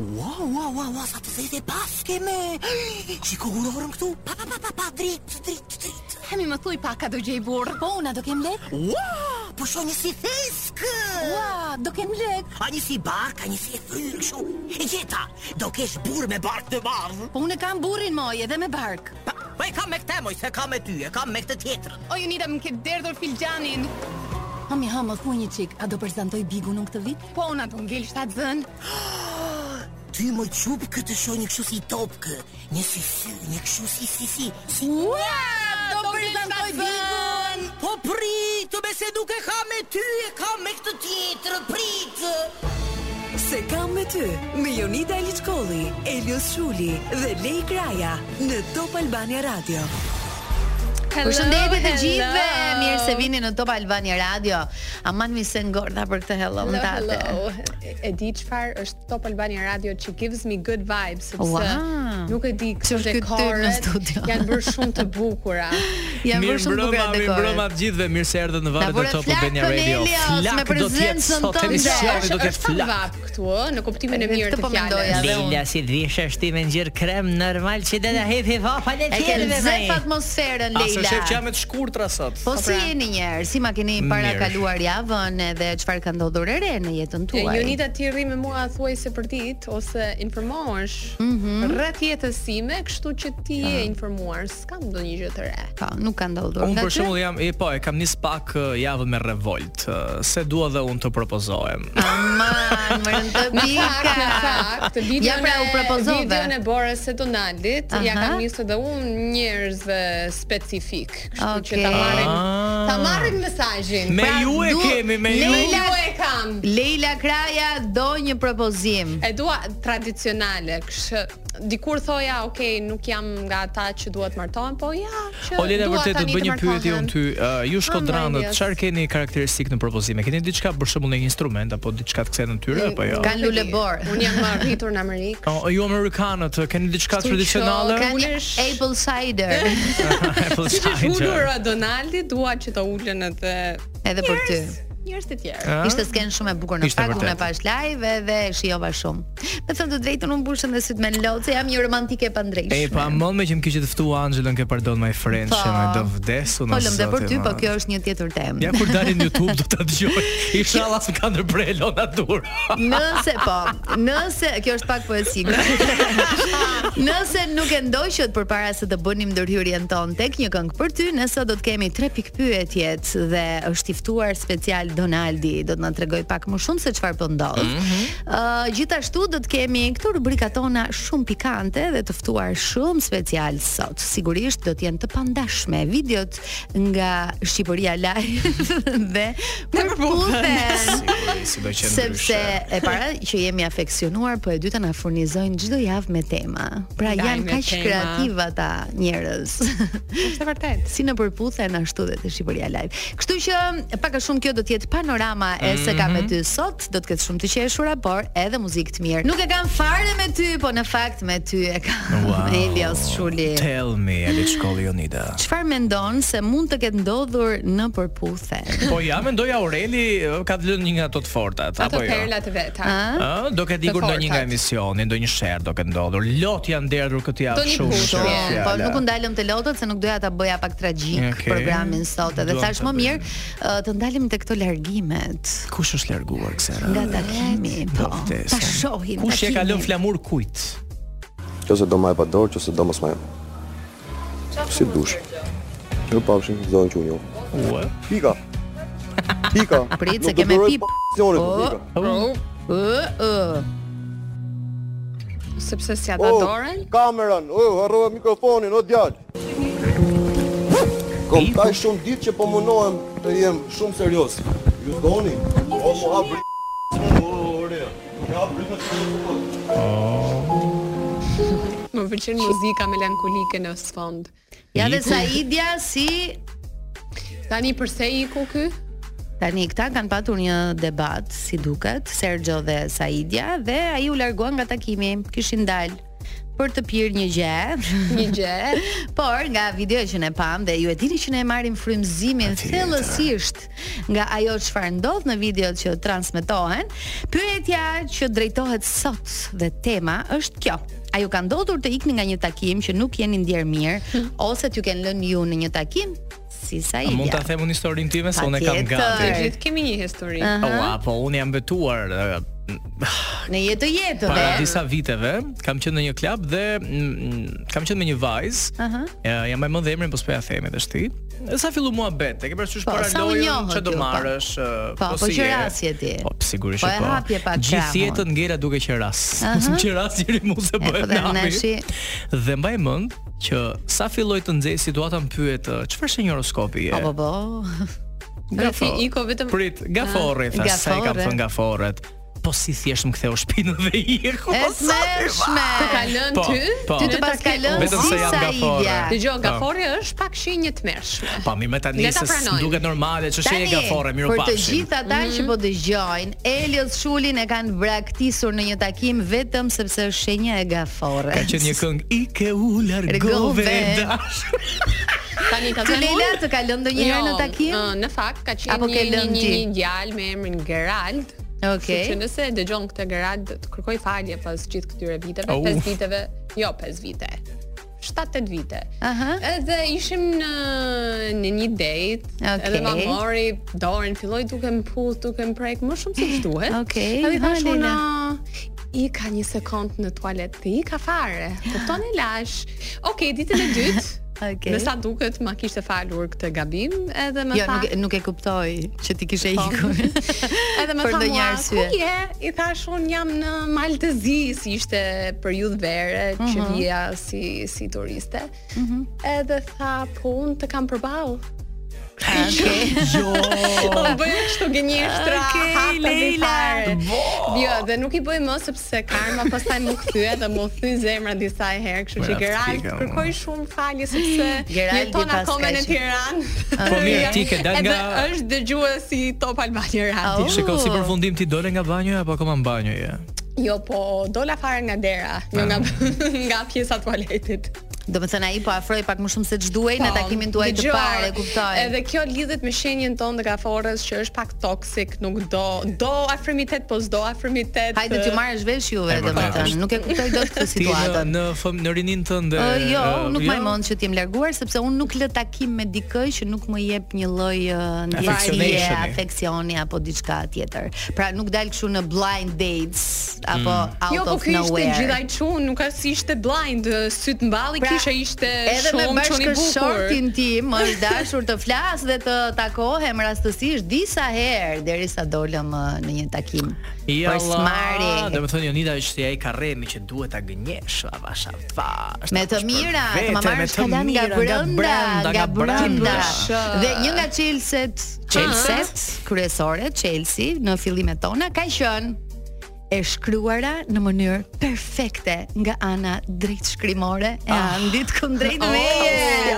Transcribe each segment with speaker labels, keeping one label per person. Speaker 1: Ua, ua, ua, ua, sa të zezë e paske me Shiko urorën këtu Pa, pa, pa, pa, pa, drit, drit, drit
Speaker 2: Hemi më thuj pak a do gjej burr. Po una do kem lek.
Speaker 1: Ua, po sho një si thesk
Speaker 2: Ua, do kem lek.
Speaker 1: A një si bark, a një si e fryrë kështu E gjeta, do kesh burë me bark të madh
Speaker 2: Po unë e kam burrin moj edhe me bark.
Speaker 1: Pa, pa e kam me këte moj, se kam me ty, e kam me këtë tjetrën
Speaker 2: O ju nida më ke derdhur filxhanin. Hami ha më thuj një çik, a do prezantoj Bigun unë këtë vit? Po una do ngel 7 zën.
Speaker 1: Ty më qup këtë shoh një kështu si topkë Një si sy, një kështu si si si Si
Speaker 2: Ua, do
Speaker 1: prezantoj Bigun Po pritë, me se nuk e kam me ty E kam me këtë tjetrën, pritë
Speaker 3: Se kam me ty, me Jonida Eliçkolli, Elios Shuli dhe Lej Kraja në Top Albania Radio.
Speaker 4: Përshëndetje të gjithëve. Mirë se vini në Top Albania Radio. Aman mi se ngordha për këtë hello në tate.
Speaker 5: Hello, hello. E- E di çfarë është Top Albania Radio që gives me good vibes sepse
Speaker 4: Ua.
Speaker 5: nuk e di
Speaker 4: Që
Speaker 5: këto
Speaker 4: është ky typ në
Speaker 5: dekore
Speaker 4: studio.
Speaker 5: janë bërë shumë të bukura.
Speaker 4: Jam
Speaker 6: Mirë
Speaker 4: bërë shumë bukur
Speaker 6: mbrëma, mirë mbrëma
Speaker 4: dekor.
Speaker 6: të gjithëve, mirë se erdhët në
Speaker 4: Na
Speaker 6: valët e
Speaker 4: vore
Speaker 6: Top
Speaker 4: flak
Speaker 6: Albania Radio.
Speaker 4: Cornelios, me
Speaker 6: do të jetë
Speaker 4: prezencën
Speaker 6: sot
Speaker 4: tonë.
Speaker 6: emisioni,
Speaker 5: Është
Speaker 6: do të
Speaker 5: është
Speaker 6: jetë
Speaker 5: fan
Speaker 6: flak.
Speaker 5: vap këtu, ë, në kuptimin e
Speaker 4: E,
Speaker 5: mirë
Speaker 4: këtë
Speaker 5: të
Speaker 4: po mendoja.
Speaker 5: fjalës.
Speaker 4: Dhe unë.
Speaker 7: Leila si dvishë është ti me ngjyrë krem normal që do ta hedhë vafa le
Speaker 4: E
Speaker 7: të
Speaker 4: ke
Speaker 7: jelëve
Speaker 4: nxjerr atmosferën
Speaker 6: Asë shef që
Speaker 4: Leila.
Speaker 6: jam e të shkurtra sot.
Speaker 4: Po
Speaker 5: pra.
Speaker 4: si jeni njerë, si ma keni para
Speaker 6: Mirë.
Speaker 4: kaluar javën edhe çfarë ka ndodhur e re në jetën
Speaker 5: E,
Speaker 4: tuaj?
Speaker 5: Jonita ti rri me mua thuaj se për ditë ose informohesh
Speaker 4: Mhm.
Speaker 5: rreth jetës sime, kështu që ti je informuar, s'kam ndonjë gjë të re.
Speaker 4: Po, nuk ka ndodhur.
Speaker 6: Unë
Speaker 4: Nga
Speaker 6: për
Speaker 4: ty?
Speaker 6: shembull jam, e, po, e kam nis pak e, javën me revolt, e, se dua dhe unë të propozohem.
Speaker 4: Aman, më rënë të
Speaker 5: Në
Speaker 4: pika.
Speaker 5: fakt, në fakt, videon
Speaker 4: Ja pra u propozove.
Speaker 5: Videon e Boris e Donaldit, ja
Speaker 4: Aha.
Speaker 5: kam nisur edhe unë njerëzve specifik, kështu që ta
Speaker 4: Okej.
Speaker 5: marrin,
Speaker 6: Ah.
Speaker 5: ta marrin mesazhin.
Speaker 6: Me
Speaker 4: Pra,
Speaker 6: ju e
Speaker 4: du-
Speaker 6: kemi, me ju.
Speaker 5: Me
Speaker 4: Leila-
Speaker 5: ju e kam.
Speaker 4: Leila Kraja do një propozim.
Speaker 5: E dua tradicionale, kështu dikur thoja, ok, nuk jam nga ata që duhet martohen, po ja, që
Speaker 6: O Leila
Speaker 5: dua
Speaker 6: vërtet do të
Speaker 5: tani
Speaker 6: bëj një pyetje
Speaker 5: martohen. Ah,
Speaker 6: unë ty. Uh, ju shkodranët,
Speaker 5: Dios.
Speaker 6: çfarë keni karakteristikë në propozime? Keni diçka për shembull në një instrument apo diçka të kësaj natyre apo jo?
Speaker 4: Kan lulebor.
Speaker 5: Unë jam rritur në Amerikë.
Speaker 6: O, ju amerikanët, keni diçka
Speaker 5: Kështu që
Speaker 6: tradicionale? po,
Speaker 4: Ka një
Speaker 5: ulesh-
Speaker 4: apple cider
Speaker 6: Apple
Speaker 5: Ulur
Speaker 6: cider.
Speaker 5: Donaldi, dua që ta ulën edhe
Speaker 4: edhe për ty.
Speaker 5: njerëz të tjerë.
Speaker 6: Ah?
Speaker 4: Ishte skenë shumë e bukur në
Speaker 6: Ishte
Speaker 4: fakt, unë e
Speaker 6: vërtet.
Speaker 4: pash live edhe shijova shumë. Me thënë të drejtën unë mbushën dhe sytë me lot, se jam një romantike e pandrejshme.
Speaker 6: E pa mall me që më kishit ftu Angelën ke pardon my friend
Speaker 4: Po.
Speaker 6: që më do
Speaker 4: Po
Speaker 6: vdesu në
Speaker 4: lëm dhe për ty, po
Speaker 6: man.
Speaker 4: kjo është një tjetër temë.
Speaker 6: Ja kur dalin në YouTube do ta dëgjoj. Inshallah s'm ka ndërprer Elona Dur.
Speaker 4: Nëse po, nëse kjo është pak poezike. nëse nuk e ndoqët përpara se të bënim ndërhyrjen tonë tek një këngë për ty, ne sot do të kemi tre pikë pyetjet dhe është i ftuar special Donaldi, do të na tregoj pak më shumë se çfarë po ndodh. Ë gjithashtu do të kemi këto rubrika tona shumë pikante dhe të ftuar shumë special sot. Sigurisht do të jenë të pandashme videot nga Shqipëria Live dhe përputhen.
Speaker 6: Si do qenë
Speaker 4: Sepse e para që jemi afeksionuar, po e dyta na furnizojnë çdo javë me tema. Pra
Speaker 5: Ndaj
Speaker 4: janë
Speaker 5: me
Speaker 4: kaq
Speaker 5: tema.
Speaker 4: kreativ ata njerëz.
Speaker 5: Është vërtet.
Speaker 4: si në përputhen ashtu dhe te Shqipëria Live. Kështu që pak a shumë kjo do të jetë panorama e se kam
Speaker 5: Mhm.
Speaker 4: me ty sot, do të ketë shumë të qeshura, por edhe muzikë të mirë. Nuk e kam fare me ty, po në fakt me ty e kam.
Speaker 6: Wow.
Speaker 4: Elios Shuli.
Speaker 6: Tell me, Eli Shkolli Jonida.
Speaker 4: Çfarë mendon se mund të ketë ndodhur në përputhen?
Speaker 6: Po ja, mendoja Aureli ë, ka të lënë një nga ato të fortat
Speaker 5: Ato
Speaker 6: apo jo?
Speaker 5: perlat e veta.
Speaker 6: Ë, do ketë ikur
Speaker 5: Të
Speaker 6: ndonjë nga
Speaker 5: fortat.
Speaker 6: emisioni, ndonjë sherr do ketë ndodhur. Lot janë derdhur këtë javë
Speaker 5: Toni
Speaker 6: shumë.
Speaker 5: Kushti.
Speaker 6: shumë
Speaker 4: Shumë, po
Speaker 6: fjala.
Speaker 4: nuk u ndalëm te lotët se nuk doja ta bëja pak tragjik
Speaker 6: Okej.
Speaker 4: programin sot edhe
Speaker 6: Duam
Speaker 4: thash
Speaker 6: ta
Speaker 4: më
Speaker 6: bëjmë.
Speaker 4: mirë ë, të ndalim te këto largimet
Speaker 6: Kush është larguar kësaj?
Speaker 4: nga takimi, po.
Speaker 6: vdes.
Speaker 4: Ta shohim.
Speaker 6: Kush e ka
Speaker 4: takimin.
Speaker 6: lënë flamur kujt?
Speaker 8: Qëse do maj pa dorë, qëse do mos maj. Si dush. Jo pafshin, do në qunjo.
Speaker 6: Ua.
Speaker 8: Pika. Pika.
Speaker 4: Prit,
Speaker 8: Nuk
Speaker 4: se
Speaker 8: do
Speaker 4: keme
Speaker 8: duroj
Speaker 4: pip.
Speaker 8: p***zonit,
Speaker 4: Po.
Speaker 8: pika.
Speaker 4: Ë, ë.
Speaker 5: sepse si ata
Speaker 6: Oh.
Speaker 8: O,
Speaker 5: dorën.
Speaker 8: kamerën, o, harrova mikrofonin, o djalë. Kom taj shumë ditë që po munohem të jem shumë serioz. Ju doni? O, mu ha brit. O, ore. Mu ha brit.
Speaker 5: Më pëlqen muzika melankolike në sfond.
Speaker 4: Ja dhe Saidia si
Speaker 5: Tani përse iku ky?
Speaker 4: Tani këta kanë patur një debat, si duket, Sergio dhe Saidia dhe ai u largua nga takimi, kishin dalë. për të pirë një gjë.
Speaker 5: Një gjë.
Speaker 4: Por nga video që ne pam dhe ju e dini që ne e marrim frymëzimin thellësisht nga ajo çfarë ndodh në videot që transmetohen, pyetja që drejtohet sot dhe tema është kjo. A ju ka ndodhur të ikni nga një takim që nuk jeni ndjer mirë ose t'ju kanë lënë ju në një takim? Si sa
Speaker 6: A
Speaker 4: i
Speaker 6: mund ta them unë historinë time se unë e kam
Speaker 4: Patjetër.
Speaker 6: gati.
Speaker 5: Ne kemi një histori.
Speaker 6: Po, po unë jam betuar ë,
Speaker 4: në jetë të jetëve.
Speaker 6: para disa viteve, kam qenë në një klub dhe mm, kam qenë me një vajzë.
Speaker 4: Aha.
Speaker 6: Ja, jam më mend emrin, po s'po ja themi tash ti. E Sa fillu muhabet, e ke parasysh
Speaker 4: Po,
Speaker 6: para
Speaker 4: sa u
Speaker 6: lojën
Speaker 4: njohët
Speaker 6: që do
Speaker 4: ju, po.
Speaker 6: marrësh, ë,
Speaker 4: Po, po
Speaker 6: si
Speaker 4: që
Speaker 6: je.
Speaker 4: rasje ti.
Speaker 6: Po sigurisht
Speaker 4: Po,
Speaker 6: që
Speaker 4: e
Speaker 6: po.
Speaker 4: hapje pak krahun.
Speaker 6: Gjithë jetën ngela duke që ras.
Speaker 4: Aha.
Speaker 6: që ras deri mu se
Speaker 4: po,
Speaker 6: bëhet
Speaker 4: dhe
Speaker 6: nami.
Speaker 4: nashi.
Speaker 6: Dhe mbaj mend që sa filloi të nxej situata më pyet ë, çfarë shenjë horoskopi je.
Speaker 4: Apo po.
Speaker 5: Gati iko vetëm
Speaker 6: Prit, gaforri,
Speaker 4: Ah,
Speaker 6: thash, sa i kam
Speaker 4: Gaforre.
Speaker 6: thënë gaforret. Po si thjesht më ktheu shpinën dhe i iku.
Speaker 4: E smershme.
Speaker 5: Të ka lënë
Speaker 6: Po,
Speaker 5: ty?
Speaker 6: po.
Speaker 4: Ty të pas ka lënë
Speaker 6: Vetëm
Speaker 4: si
Speaker 6: se jam
Speaker 4: sa
Speaker 6: gafore.
Speaker 4: idja.
Speaker 5: Dëgjoj,
Speaker 6: Po.
Speaker 5: gafori është pak shenjë të mërshme.
Speaker 6: Pa mirë me tani
Speaker 5: Le ta
Speaker 6: se s-
Speaker 5: pranojmë.
Speaker 6: duket normale që sheje gafore, miru
Speaker 4: për të
Speaker 6: pafshim.
Speaker 4: gjithë ata që po dëgjojnë, Elios Shulin e kanë braktisur në një takim vetëm sepse është shenja e gafore.
Speaker 6: Ka qenë një këngë I ke u largove
Speaker 4: Largove.
Speaker 6: dash
Speaker 5: Tani ka
Speaker 4: Ty
Speaker 5: thënë
Speaker 4: Leila
Speaker 5: unë-
Speaker 4: të ka lënë ndonjëherë në takim?
Speaker 5: ë, Jo, në fakt ka qenë
Speaker 4: Apo ke
Speaker 5: një, një,
Speaker 4: lënë
Speaker 5: një,
Speaker 4: ti?
Speaker 5: një djalë me emrin Gerald.
Speaker 4: Okej.
Speaker 5: Kështu që nëse e dëgjon këtë Gerald, të kërkoj falje pas gjithë këtyre viteve,
Speaker 6: Au.
Speaker 5: 5 viteve, jo 5 vite. 7-8 vite.
Speaker 4: Aha.
Speaker 5: Edhe ishim në në një date,
Speaker 4: Okej.
Speaker 5: edhe ma mori dorën, filloi duke më puth, duke më prek më shumë se ç'duhet.
Speaker 4: Okej,
Speaker 5: Edhe i
Speaker 4: ha,
Speaker 5: thash
Speaker 4: Leila.
Speaker 5: unë i ka një sekond në tualet, ti i ka fare. Kupton e lash. Okej, ditën e dytë.
Speaker 4: Okej.
Speaker 5: Me sa duket ma kishte falur këtë gabim, edhe më
Speaker 4: Jo,
Speaker 5: tha.
Speaker 4: nuk e- nuk e kuptoj që ti kishe
Speaker 5: Po.
Speaker 4: ikur.
Speaker 5: Edhe më
Speaker 4: për
Speaker 5: tha
Speaker 4: ndonjë
Speaker 5: mua,
Speaker 4: arsye."
Speaker 5: ku je? I thash un jam në Maltezi, si ishte periudhë vere që
Speaker 4: Mhm.
Speaker 5: vija si si turiste. Edhe tha, po un të kam përball.
Speaker 4: Okej.
Speaker 6: Jo.
Speaker 5: Po bëj kështu gënjeshtra.
Speaker 4: Okej,
Speaker 5: hapta dy
Speaker 4: Leila.
Speaker 5: fare. Jo, dhe nuk i bëj më sepse karma pastaj më kthye dhe më thy zemra disa herë, kështu që
Speaker 6: Mbrapa
Speaker 5: Geralt
Speaker 6: Po, pika,
Speaker 5: kërkoj shumë falje sepse
Speaker 4: Geraldi
Speaker 5: jeton
Speaker 4: pas
Speaker 5: akoma
Speaker 4: ka
Speaker 5: në
Speaker 4: qenë.
Speaker 5: Tiranë.
Speaker 6: Po mirë, ti ke dal
Speaker 5: Edhe
Speaker 6: nga-
Speaker 5: është dëgjuesi Top Albania
Speaker 4: Au.
Speaker 5: Radio.
Speaker 6: Shikoj si përfundim ti dole nga banjoja apo akoma në banjo je.
Speaker 5: Jo, po dola fare nga dera, jo nga
Speaker 6: Ah.
Speaker 5: nga pjesa e tualetit.
Speaker 4: Do të thënë ai po afroi pak më shumë se ç'duhej në
Speaker 5: Po,
Speaker 4: takimin tuaj të
Speaker 5: dëgjoj,
Speaker 4: parë, e kuptoj.
Speaker 5: Edhe kjo lidhet me shenjën tonë të gaforës që është pak toksik, nuk do do afrimitet, po s'do afrimitet.
Speaker 4: Hajde ti marrësh vesh juve
Speaker 6: E, vërtet
Speaker 4: domethënë, nuk e kuptoj dot këtë
Speaker 6: Ti në,
Speaker 4: situatën.
Speaker 6: në, fëm, në rinin tënde.
Speaker 4: Ë, jo,
Speaker 6: ë,
Speaker 4: unë nuk
Speaker 6: jo?
Speaker 4: më mund që t'jem larguar sepse unë nuk lë takim me dikë që nuk më jep një lloj ë, ndjesie,
Speaker 6: Affectionationi.
Speaker 4: afeksioni apo diçka tjetër. Pra nuk dal kështu në blind dates apo
Speaker 6: Mm.
Speaker 4: out
Speaker 5: Jo, po
Speaker 4: of
Speaker 5: ky ishte
Speaker 4: nowhere.
Speaker 5: gjithaj çun, nuk as ishte blind, syt mballi
Speaker 4: Pra,
Speaker 5: kishe ishte
Speaker 4: Edhe me
Speaker 5: shumë çun i bukur.
Speaker 4: bashkëshortin tim është dashur të flas dhe të takohem rastësisht disa herë derisa dolëm ë, në një takim.
Speaker 6: Ja
Speaker 4: Por s'mari.
Speaker 6: Do të thonë Jonida është ai karremi që duhet ta gënjesh ava shavash.
Speaker 4: Me të mira, të më marrësh kalan nga brenda, nga brenda. Dhe një nga Chelsea-t, Chelsea-t kryesore, Chelsea në fillimet tona ka qenë e shkruara në mënyrë perfekte nga ana drejt shkrimore e
Speaker 6: Ah.
Speaker 4: Andit kundrejt
Speaker 6: Oh.
Speaker 4: meje.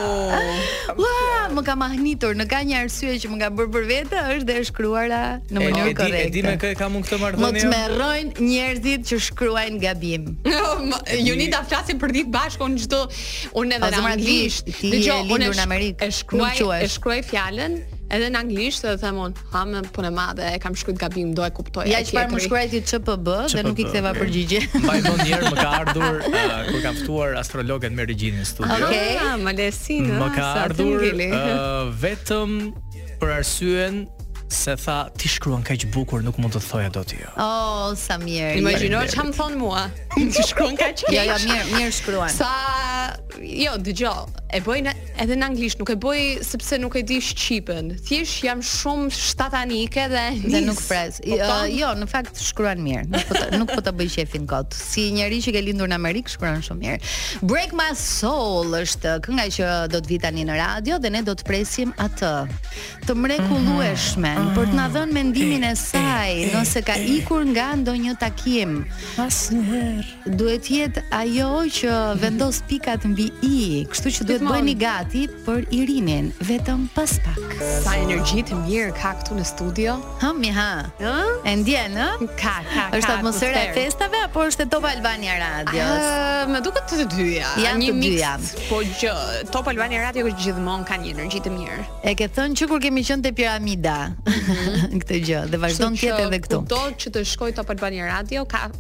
Speaker 4: Ua, më ka mahnitur, në ka një arsye që më ka bërë për vete, është dhe e shkruara në mënyrë
Speaker 6: E di me
Speaker 4: korrekte.
Speaker 6: kë kam unë këtë
Speaker 4: Më të
Speaker 6: marrëdhënie.
Speaker 4: merrojnë njerëzit që shkruajnë gabim.
Speaker 5: Oh. Jonida flasim për ditë bashkë unë çdo unë edhe
Speaker 4: O,
Speaker 5: në
Speaker 4: zemra,
Speaker 5: anglisht.
Speaker 4: Oh, ti- ti je lindur në
Speaker 5: shk-
Speaker 4: Amerikë,
Speaker 5: E shkruaj,
Speaker 4: nuk quhesh.
Speaker 5: e shkruaj fjalën edhe në anglisht dhe them unë, ha më punë e madhe, e kam shkruajt gabim, do e kuptoj.
Speaker 4: Ja
Speaker 5: e
Speaker 4: që parë më
Speaker 5: tjetri."
Speaker 4: shkruaj ti ÇPB dhe nuk i ktheva
Speaker 6: mirë.
Speaker 4: përgjigje.
Speaker 6: Mbaj mend një herë më ka ardhur ë, kur kam ftuar astrologen me regjinin në studio.
Speaker 4: Okej.
Speaker 5: Ah, Malesinë.
Speaker 6: Më ka
Speaker 5: sa të
Speaker 6: ardhur uh,
Speaker 5: ngeli.
Speaker 6: ë, vetëm për arsyen se tha ti shkruan kaq bukur nuk mund të thoja dot jo.
Speaker 4: Oh, sa mirë.
Speaker 5: Imagjino çam thon mua. Ti shkruan kaq keq.
Speaker 4: Jo, jo, mirë, mirë shkruan.
Speaker 5: Sa jo, dëgjoj, e bëj në, edhe në anglisht, nuk e bëj sepse nuk e di shqipen. Thjesht jam shumë shtatanike dhe
Speaker 4: dhe
Speaker 5: nis.
Speaker 4: nuk pres. I-
Speaker 5: Kupton?
Speaker 9: uh,
Speaker 4: ë, jo, në fakt shkruan mirë. Nuk po të, nuk po ta bëj qefin kot. Si njëri që ke lindur në Amerikë shkruan shumë mirë. Break My Soul është kënga që do të vi tani në radio dhe ne do të presim atë të mrekullueshme
Speaker 5: Mhm.
Speaker 4: për
Speaker 5: Ah.
Speaker 4: të na dhënë mendimin e saj
Speaker 5: Eh,
Speaker 4: nëse ka ikur nga ndonjë takim. Duhet jetë ajo që vendos pikat mbi i, kështu që duhet
Speaker 5: Gjithmonë.
Speaker 4: bëheni gati.
Speaker 9: gati për Irinin, vetëm pas pak.
Speaker 5: Sa energji të mirë ka këtu në studio.
Speaker 9: Ha mi ha.
Speaker 5: Ë?
Speaker 9: E ndjen, ë?
Speaker 5: Ka, ka, ka.
Speaker 9: Është atmosfera e
Speaker 5: atmosferë.
Speaker 9: festave apo është e Top Albania Radios?
Speaker 5: Ë, Më duket të dyja.
Speaker 9: Janë
Speaker 5: një
Speaker 9: të
Speaker 5: mix,
Speaker 9: dyja.
Speaker 5: Po që Top Albania Radio gjithmonë ka një energji të mirë.
Speaker 9: E ke thënë që kur kemi qenë te piramida këtë gjë dhe vazhdon të
Speaker 5: Mhm. Kështu
Speaker 9: jetë
Speaker 5: që
Speaker 9: edhe këtu.
Speaker 5: Kudo që të shkoj Top Albania Radio ka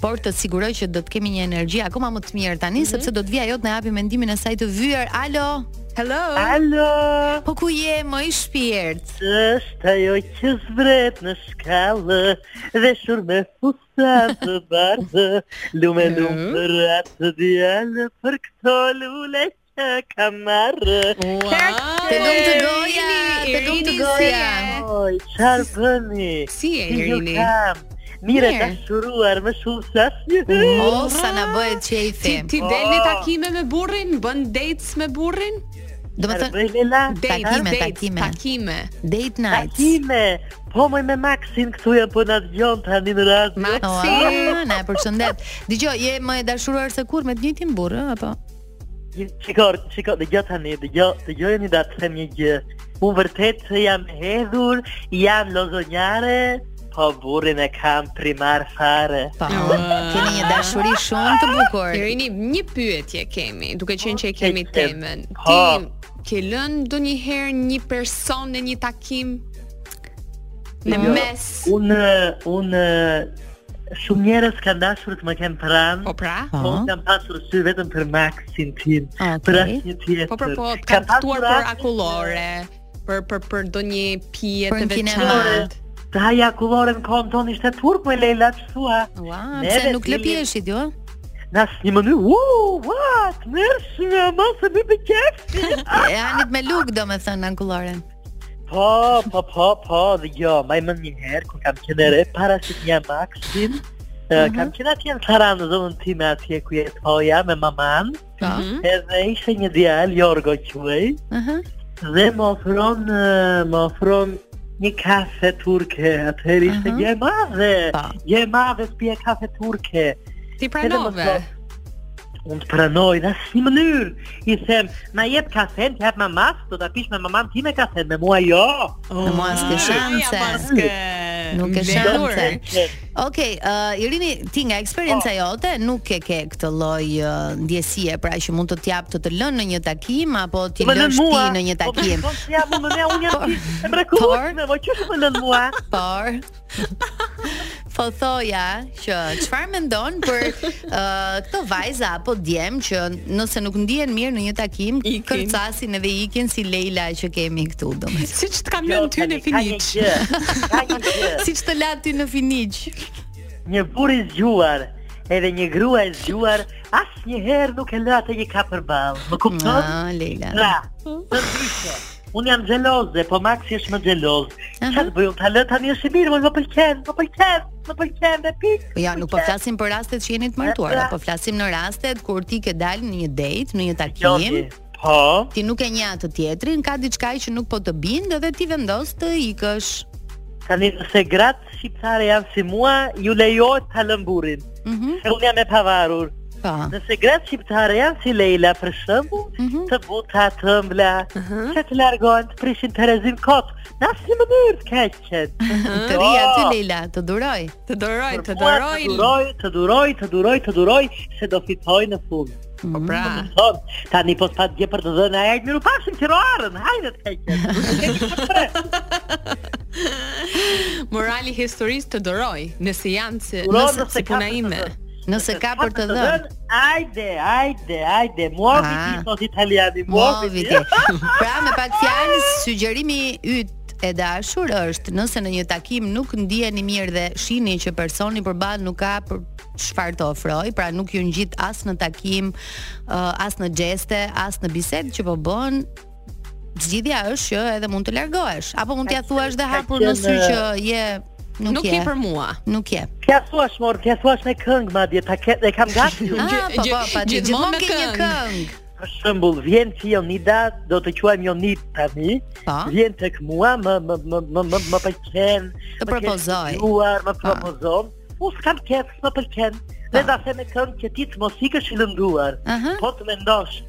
Speaker 9: Por të siguroj që do të kemi një energji akoma më të mirë tani
Speaker 5: Mhm.
Speaker 9: sepse do të vi ajo të na japi mendimin e saj të vyer. Alo.
Speaker 5: Hello.
Speaker 10: Alo,
Speaker 9: Po ku je më i shpirt?
Speaker 10: është ajo që zvret në shkallë Dhe shur me fustat të bardhë Lume lume për atë të djallë Për këto lule që ka marrë
Speaker 9: Te lumë të goja,
Speaker 5: Irini,
Speaker 9: te lumë të
Speaker 5: Irini, si
Speaker 9: goja.
Speaker 5: je?
Speaker 10: Oj, qarë bëni
Speaker 5: Si je
Speaker 10: Si ju
Speaker 5: Irini?
Speaker 10: kam Mire
Speaker 5: Mirë.
Speaker 10: ka shuruar më shumë sa asnjë
Speaker 9: O sa na bëhet
Speaker 5: Ti
Speaker 9: qejfi.
Speaker 5: ti del
Speaker 10: Oh.
Speaker 5: në takime me burrin, bën dates me burrin?
Speaker 9: Do të
Speaker 10: Qarë
Speaker 9: thënë
Speaker 10: bëj Lela
Speaker 5: Date,
Speaker 9: Takime,
Speaker 5: date,
Speaker 9: takime.
Speaker 5: takime.
Speaker 9: date night.
Speaker 10: Takime Po moj me Maxin këtu ja po na dëgjon tani në radio
Speaker 5: Maxi.
Speaker 9: na e përshëndet. Dgjoj, je më e dashuruar se kur me të njëjtin burr, ë, apo?
Speaker 10: Shikor, shikor, dëgjoj tani, dëgjoj, dëgjoj një datë të them një gjë. Unë vërtet se jam hedhur, jam lozonjare, po burrin e kam primar fare.
Speaker 9: Po. Keni një dashuri shumë të bukur.
Speaker 5: Irini, një pyetje kemi, duke qenë që e kemi
Speaker 10: ke-
Speaker 5: temën. Ti
Speaker 10: Ha.
Speaker 5: ke lënë ndonjëherë një person në një takim në
Speaker 10: Jo.
Speaker 5: mes?
Speaker 10: Unë, unë, shumë njerëz kanë dashur të më kenë pranë,
Speaker 5: Po pra?
Speaker 10: po unë kam pasur sy vetëm për Maxin tim,
Speaker 9: Okej.
Speaker 10: për asnjë tjetër.
Speaker 5: Po për po, të
Speaker 10: Ka
Speaker 5: kanë ftuar
Speaker 10: pasur
Speaker 5: për
Speaker 10: asnjë-
Speaker 5: akullore, për për për ndonjë pije
Speaker 9: Për
Speaker 5: të
Speaker 9: në
Speaker 5: veçantë.
Speaker 10: Ta ja kullorën kohën tonë ishte turp me Leila që thua.
Speaker 9: Ua,
Speaker 10: Neve
Speaker 9: pse nuk jo?
Speaker 10: dilnim-
Speaker 9: lëpieshi ti, ë?
Speaker 10: Në asë një mënyrë, uuu, what, mërshme, mos e mi për qefë.
Speaker 9: E anit me luk do me thënë ankullore
Speaker 10: Po, po, po, po, dhe jo, maj më një herë, kur kam qenë re, para se të jam Maxin, uh, kam qenë atje në Tiranë, zonën time atje ku jetoja me maman,
Speaker 9: Po.
Speaker 10: edhe ishte një djalë, Jorgo quaj,
Speaker 9: Aha.
Speaker 10: dhe më ofron, uh, më ofron një kafe turke, atëherë ishte uh -huh. je madhe,
Speaker 9: Po.
Speaker 10: je madhe s'pje kafe turke.
Speaker 5: Ti
Speaker 10: Edhe më
Speaker 5: pranove.
Speaker 10: thot, Unë të pranoj në asnjë mënyrë. I them, na jep kafen, të jap mamas, do ta pish me maman time kafen, me mua jo.
Speaker 5: Oh.
Speaker 9: Në mua s'ke shanse Nuk e shanse Okej, ë, Irini, ti nga eksperienca jote Nuk e ke këtë lloj ë, ndjesie Pra që mund të t'jap të të lënë në një takim Apo t'i
Speaker 10: Më lën
Speaker 9: lësh ti
Speaker 10: mua.
Speaker 9: në një takim
Speaker 10: Po pse jam unë ne unë jam e mrekullueshme, po çu më lën mua.
Speaker 9: Por Po thoja që çfarë mendon për uh, këto vajza apo djem që nëse nuk ndihen mirë në një takim,
Speaker 5: Ikin.
Speaker 9: kërcasin edhe ikin si Leila që kemi këtu, domethënë.
Speaker 5: Siç të kam lënë ty në
Speaker 10: Jo, Ka një
Speaker 5: finiç.
Speaker 10: gjë, Ka një gjë.
Speaker 9: Siç të la ty në finiq.
Speaker 10: Një burr i zgjuar, edhe një grua e zgjuar, asnjëherë nuk e lë atë një kapër ball. Më kupton?
Speaker 9: Ah, Leila.
Speaker 10: Pra, të ndryshe. Unë jam xheloze, po Maxi është më xheloz.
Speaker 9: Aha.
Speaker 10: Çfarë bëj unë ta lë tani është i mirë, më- më pëlqen, më pëlqen, më pëlqen dhe pikë.
Speaker 9: Po ja, nuk po
Speaker 10: pëlqen.
Speaker 9: flasim për rastet që jeni të martuar, po flasim në rastet kur ti ke dalë në një date, në një takim,
Speaker 10: Gjoti, Po,
Speaker 9: ti nuk e njeh atë tjetrin, ka diçka që nuk po të bindë dhe ti vendos të ikësh.
Speaker 10: tani nëse gratë shqiptare janë si mua, ju lejohet ta lëm burrin.
Speaker 9: Mhm.
Speaker 10: Se unë jam e pavarur.
Speaker 9: Po.
Speaker 10: Nëse gratë shqiptare janë si Leila për shembull, të buta, të ëmbla, që të largohen, të prishin Terezin kot. Në asnjë mënyrë të keq qenë.
Speaker 9: Të ri aty Leila, të duroj.
Speaker 5: Të doroj,
Speaker 10: Për
Speaker 5: të
Speaker 10: mua, Të
Speaker 5: doroj.
Speaker 10: duroj, të duroj, të duroj, të duroj, se do fitoj në fund.
Speaker 5: Po pra.
Speaker 10: Thon, tani po s'pa dje për të dhënë ajër, miru pashim që roarën, hajde të keqet.
Speaker 5: Morali i historisë të doroj, nëse janë si,
Speaker 10: Duroj
Speaker 5: nëse, si puna ime.
Speaker 9: Nëse ka për të dhënë.
Speaker 10: Ajde, ajde, ajde, muovi ti
Speaker 9: Ah.
Speaker 10: sot italiani, muovi
Speaker 9: Muovi
Speaker 10: ti.
Speaker 9: ti. Pra me pak fjalë, sugjerimi yt e dashur është nëse në një takim nuk ndiheni mirë dhe shihni që personi përballë nuk ka për çfarë të ofroj, pra nuk ju ngjit as në takim, ë, as në gjeste, as në bisedë që po bën, zgjidhja është që edhe mund të largohesh, apo mund t'ja thuash dhe
Speaker 10: ka
Speaker 9: hapur në sy
Speaker 10: qenë, uh,
Speaker 9: që je nuk,
Speaker 5: Nuk
Speaker 9: je.
Speaker 5: je për mua.
Speaker 9: Nuk je.
Speaker 10: Kja thuash mor, kja thuash me këngë madje, ta ket e kam gati.
Speaker 9: Ah,
Speaker 5: Gjë-
Speaker 9: po, po,
Speaker 5: gjë-
Speaker 9: pa, ti
Speaker 5: gjithmonë
Speaker 9: gjithmonë
Speaker 5: me
Speaker 9: ke një
Speaker 5: këngë.
Speaker 9: këngë.
Speaker 10: Për shembull, vjen ti Jonida, do të quajmë Jonid tani.
Speaker 9: Po.
Speaker 10: Vjen tek mua, më më më më më më pëlqen.
Speaker 9: Të
Speaker 10: më ke
Speaker 9: propozoj.
Speaker 10: shkruar, më propozon. Unë s'kam qef, më pëlqen. Dhe
Speaker 9: Po.
Speaker 10: ta them me këngë që ti të mos ikësh i lënduar.
Speaker 9: Aha.
Speaker 10: Po të mendosh.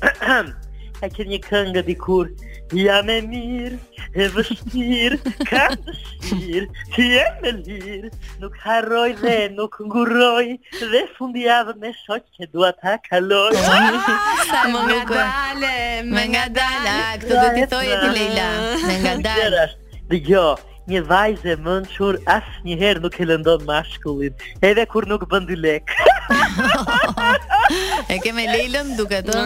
Speaker 10: Ka qenë një këngë dikur Jam e mirë, e vështirë Kam dëshirë, ti e me lirë Nuk harroj dhe nuk nguroj Dhe fundjavë me shoq që dua ta kaloj
Speaker 9: Ah. Më nga dale, më nga dale, këtë do t'i thoje ti Leila. Më nga dale.
Speaker 10: Gjerash, dëgjo, një vajzë e mençur asnjëherë nuk e lëndon mashkullin, edhe kur nuk bën dy lek.
Speaker 9: E ke me Leilën duket ë.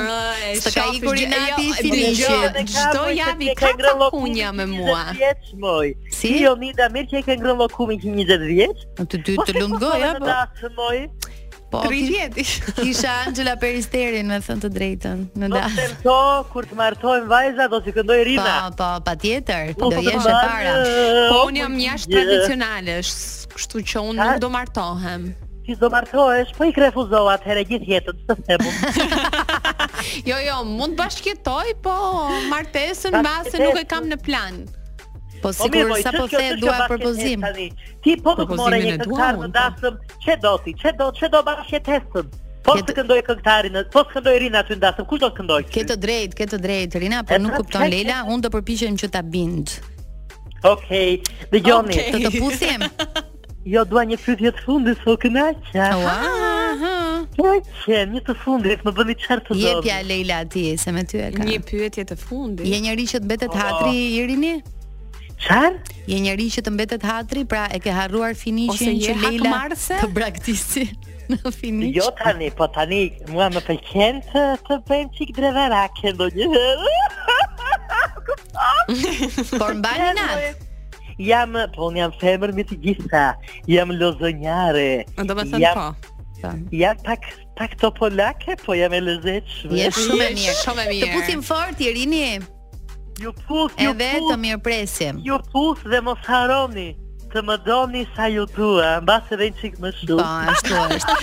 Speaker 9: S'të ka ikur i nati i
Speaker 10: dëgjoj,
Speaker 9: finishin.
Speaker 10: dhe ka
Speaker 5: Çdo
Speaker 10: moj,
Speaker 5: javë
Speaker 10: se
Speaker 5: i
Speaker 10: ti
Speaker 5: ka
Speaker 10: ke ngrënë
Speaker 5: kunja me
Speaker 10: llokumin
Speaker 5: mua.
Speaker 10: 20 Vjeç moj.
Speaker 9: Si?
Speaker 10: Ti Jonida mirë që e ke ngrënë lokumin 120 vjeç.
Speaker 9: Të dy të lumt goja
Speaker 10: po.
Speaker 9: po.
Speaker 10: Dasë moj,
Speaker 9: Po. kish-
Speaker 5: 30.
Speaker 9: Kisha Angela Peristerin me thënë të drejtën në
Speaker 10: do të
Speaker 9: dasë.
Speaker 10: tento kur të martohem vajza do të këndoj
Speaker 9: Po,
Speaker 10: Rina. Po,
Speaker 9: po, patjetër,
Speaker 10: Nuk
Speaker 9: do
Speaker 10: të
Speaker 9: jesh e
Speaker 10: marrë,
Speaker 9: para.
Speaker 5: Po
Speaker 10: o,
Speaker 5: unë jam jashtë
Speaker 10: gjë.
Speaker 5: tradicionale, sh- kështu që unë
Speaker 10: Ka-
Speaker 5: nuk do martohem.
Speaker 10: Ti do martohesh, po i ke refuzuar atëherë gjithë jetën, të them.
Speaker 5: Jo, jo, mund bashkjetoj, po martesën mbase
Speaker 10: Bashkëtesë.
Speaker 5: nuk e kam në plan.
Speaker 9: Po sigur
Speaker 10: moj,
Speaker 9: sa
Speaker 10: ç'është
Speaker 9: po
Speaker 10: kjo,
Speaker 9: the
Speaker 10: ç'është kjo
Speaker 9: dua
Speaker 10: bashkëtet
Speaker 9: propozim.
Speaker 10: tani? Ti po nuk
Speaker 5: Propozimin
Speaker 10: more një
Speaker 5: e dua
Speaker 10: këngëtar
Speaker 5: unë,
Speaker 10: të
Speaker 5: po.
Speaker 10: dasëm, ç'e do ti? Ç'e do, ç'e do bashkëtesën? Po
Speaker 9: Ke
Speaker 10: të
Speaker 9: të-
Speaker 10: këndoj këngëtarin, po të këndoj Rina aty në dasëm, kush do të këndoj?
Speaker 9: Ke të drejtë, ke të drejtë Rina, por
Speaker 10: E
Speaker 9: nuk
Speaker 10: pra,
Speaker 9: kupton
Speaker 10: çfarë
Speaker 9: Leila, unë do përpiqem që ta bind.
Speaker 10: Okej, dëgjoni.
Speaker 9: Të të puthim.
Speaker 10: Jo dua një pyetje të fundit, po kënaqja.
Speaker 9: Ua,
Speaker 10: Po që një të fundit më bëni çfarë të do.
Speaker 9: jepja Leila atij se me ty e ka.
Speaker 5: Një Oh. pyetje të fundit.
Speaker 9: Je njëri që të mbetet hatri i rini?
Speaker 10: Çfarë?
Speaker 9: Je njëri që të mbetet hatri, pra e ke harruar
Speaker 5: Ose
Speaker 9: finishin
Speaker 5: je
Speaker 9: që Leila
Speaker 5: hakmarrse?
Speaker 9: të braktisi në finish.
Speaker 10: Jo tani, po tani mua më pëlqen të të bëjmë çik dreverake ndonjëherë.
Speaker 9: por mbani natë.
Speaker 10: Jam, po unë jam femër me të gjitha. Jam lozonjare.
Speaker 5: Do me thënë
Speaker 10: Jam-
Speaker 5: po.
Speaker 10: Ja pak pak topolake, po jam e lezetshme.
Speaker 9: Je shumë e
Speaker 5: Je
Speaker 9: mirë.
Speaker 5: shumë e mirë.
Speaker 9: Të puthim fort i rini,
Speaker 10: Ju puth, ju
Speaker 9: edhe të
Speaker 10: puth,
Speaker 9: mirëpresim.
Speaker 10: ju puth dhe mos haroni të më doni sa ju dua, mbas edhe një çik më
Speaker 9: Po,
Speaker 10: shumë.
Speaker 9: ashtu është.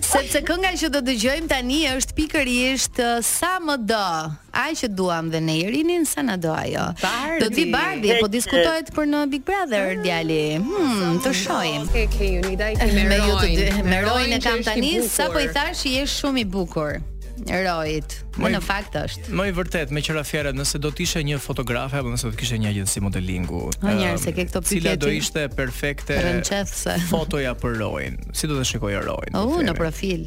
Speaker 9: Sepse kënga që do dëgjojmë tani është pikërisht ë, sa më do. Ai që duam dhe ne i rinin sa na do ajo.
Speaker 5: Bardhi.
Speaker 9: Do të vi Bardhi, po diskutohet për në Big Brother
Speaker 5: Mm.
Speaker 9: djali. Hmm, të shohim.
Speaker 5: Ke ke Unida i ke
Speaker 9: Me
Speaker 5: me
Speaker 9: ju të dy,
Speaker 5: Rojnë.
Speaker 9: me Rojin e
Speaker 5: që
Speaker 9: kam
Speaker 5: është i
Speaker 9: tani,
Speaker 5: bukur.
Speaker 9: sapo i thash je shumë i bukur. Rojit, më
Speaker 6: Moj-
Speaker 9: në fakt është.
Speaker 6: Më i vërtet, me qëra fjalë, nëse do të ishe një fotografe apo nëse do të kishe një agjenci modelingu,
Speaker 9: O,
Speaker 6: em,
Speaker 9: njerë, se ke këto
Speaker 6: cila do
Speaker 9: piketi
Speaker 6: ishte perfekte
Speaker 9: rënqethse.
Speaker 6: fotoja për Rojin. Si do të shikojë Rojin?
Speaker 9: U,
Speaker 6: po
Speaker 9: në
Speaker 6: themi?
Speaker 9: profil.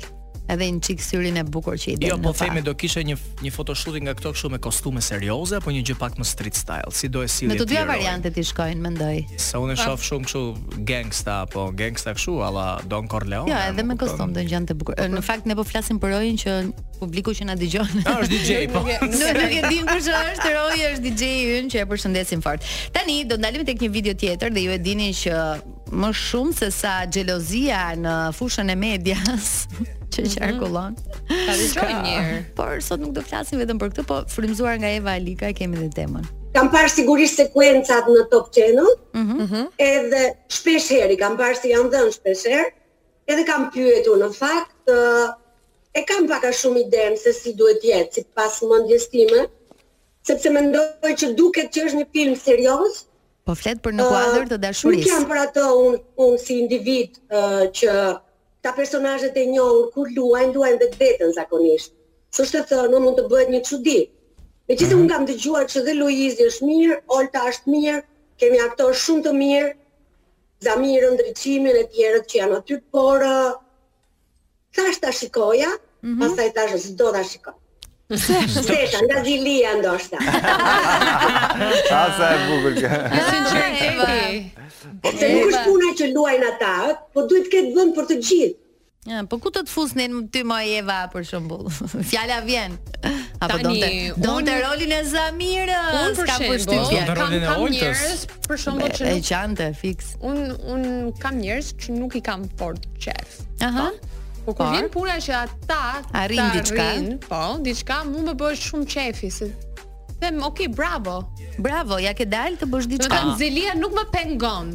Speaker 9: Edhe një çik syrin e bukur që i del.
Speaker 6: Jo, po
Speaker 9: në fakt.
Speaker 6: themi do kishe një një fotoshooting nga këto kështu me kostume serioze apo një gjë pak më street style, si do e sillje
Speaker 9: Në të dyja
Speaker 6: ti Rojin?
Speaker 9: variantet i shkojnë, mendoj.
Speaker 6: Se unë e shoh shumë kështu gangsta apo gangsta kështu alla Don Corleone.
Speaker 9: Jo, edhe me
Speaker 6: më kupton?
Speaker 9: kostum do ngjan të bukur. Në fakt ne po flasim për Rojin që publiku që na dëgjon.
Speaker 6: Ah, është DJ po.
Speaker 9: Nuk nuk e dim kush është Roy, është DJ ynë që e përshëndesim fort. Tani do ndalemi tek një video tjetër dhe ju e dini që më shumë se sa xhelozia në fushën e medias që
Speaker 5: Mhm.
Speaker 9: qarkullon.
Speaker 5: Ta dëgjoj një herë.
Speaker 9: Por sot nuk do flasim vetëm për këtë, po frymzuar nga Eva Alika e kemi dhe temën.
Speaker 11: Kam parë sigurisht sekuencat në Top Channel, edhe shpesh heri kam parë se janë dhënë shpesh herë, edhe kam pyetur në fakt, ë, e kam pak a shumë idenë se si duhet jetë, si pas mendjes time, sepse mendoj që duket që është një film serioz,
Speaker 9: Po flet për në kuadër të
Speaker 11: Nuk jam
Speaker 9: dashurisë.
Speaker 11: për atë unë un si individ uh, që ta personazhet e njohur kur luajnë, luajnë vetë vetën zakonisht. Së shtë thënë, unë mund të bëhet një çudi. Me gjithë
Speaker 9: Mhm.
Speaker 11: unë kam dëgjuar që dhe Luizi është mirë, Olta është mirë, kemi aktor shumë të mirë, Zamirën, Ndriçimin e tjerët që janë aty, por uh, thash ta shikoja,
Speaker 9: Mhm.
Speaker 11: pastaj thash s'do ta shikoj. Sesha, nga zilia ndoshta.
Speaker 8: A sa e bukur kjo.
Speaker 5: Sinqeriteti.
Speaker 11: Se nuk është puna që luajnë ata, po duhet të ketë vend për të gjithë.
Speaker 9: Ja, po ku do të fusnin ty më Eva për shembull? Fjala vjen. Apo
Speaker 5: Tani,
Speaker 9: donte donte
Speaker 5: unë-
Speaker 9: rolin e Zamirës.
Speaker 5: Unë për
Speaker 9: ka
Speaker 5: shembull,
Speaker 9: përshtypjen.
Speaker 6: Unë të
Speaker 5: kam
Speaker 6: rolin e
Speaker 5: kam
Speaker 6: Oltës.
Speaker 5: njerëz për shembull që
Speaker 9: E
Speaker 5: nuk
Speaker 9: qante fiks.
Speaker 5: un un kam njerëz që nuk i kam fort qef.
Speaker 9: Aha.
Speaker 5: Po kur
Speaker 9: Por?
Speaker 5: vjen puna që ata
Speaker 9: Arrin
Speaker 5: ta
Speaker 9: diçka?
Speaker 5: arrin, Po, diçka mua më bëhet shumë qefi se them, ok, bravo.
Speaker 9: Bravo, ja ke dalë të bësh
Speaker 5: Do të
Speaker 9: diçka.
Speaker 5: thënë Zelia nuk më pengon.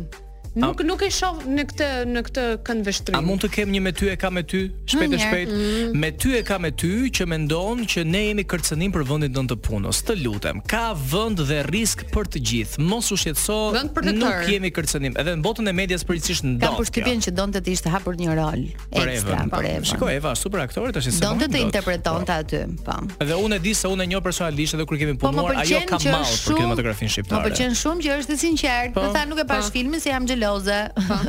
Speaker 5: Nuk nuk e shoh në këtë në këtë këndvështrim.
Speaker 6: A mund të kem një me ty e ka me ty, shpejt e
Speaker 5: Një.
Speaker 6: shpejt.
Speaker 9: Mm.
Speaker 6: Me ty e ka me ty që mendon që ne jemi kërcënim për vendin tonë të punës. Të lutem, ka vend dhe risk për të gjithë. Mos u shqetëso,
Speaker 9: Vend për të
Speaker 6: nuk
Speaker 9: tërë.
Speaker 6: jemi kërcënim. Edhe në botën e medias përgjithsisht ndodh.
Speaker 9: Kam përshtypjen që donte të ishte hapur një rol
Speaker 6: Për
Speaker 9: ekstra
Speaker 6: Evën.
Speaker 9: për Evën.
Speaker 6: Shiko Eva, super aktore tash se
Speaker 9: Donte të interpretonte aty, po.
Speaker 6: Dhe unë e di se unë e njoh personalisht edhe kur kemi
Speaker 9: Po më
Speaker 6: punuar, ajo
Speaker 9: pëlqen
Speaker 6: ka
Speaker 9: që
Speaker 6: mall
Speaker 9: është
Speaker 6: për
Speaker 9: shumë-
Speaker 6: kinematografin
Speaker 9: Më
Speaker 6: shqiptare.
Speaker 9: pëlqen po shumë që është e sinqert.
Speaker 6: Po,
Speaker 9: Më tha nuk e pash filmin se jam xheloze.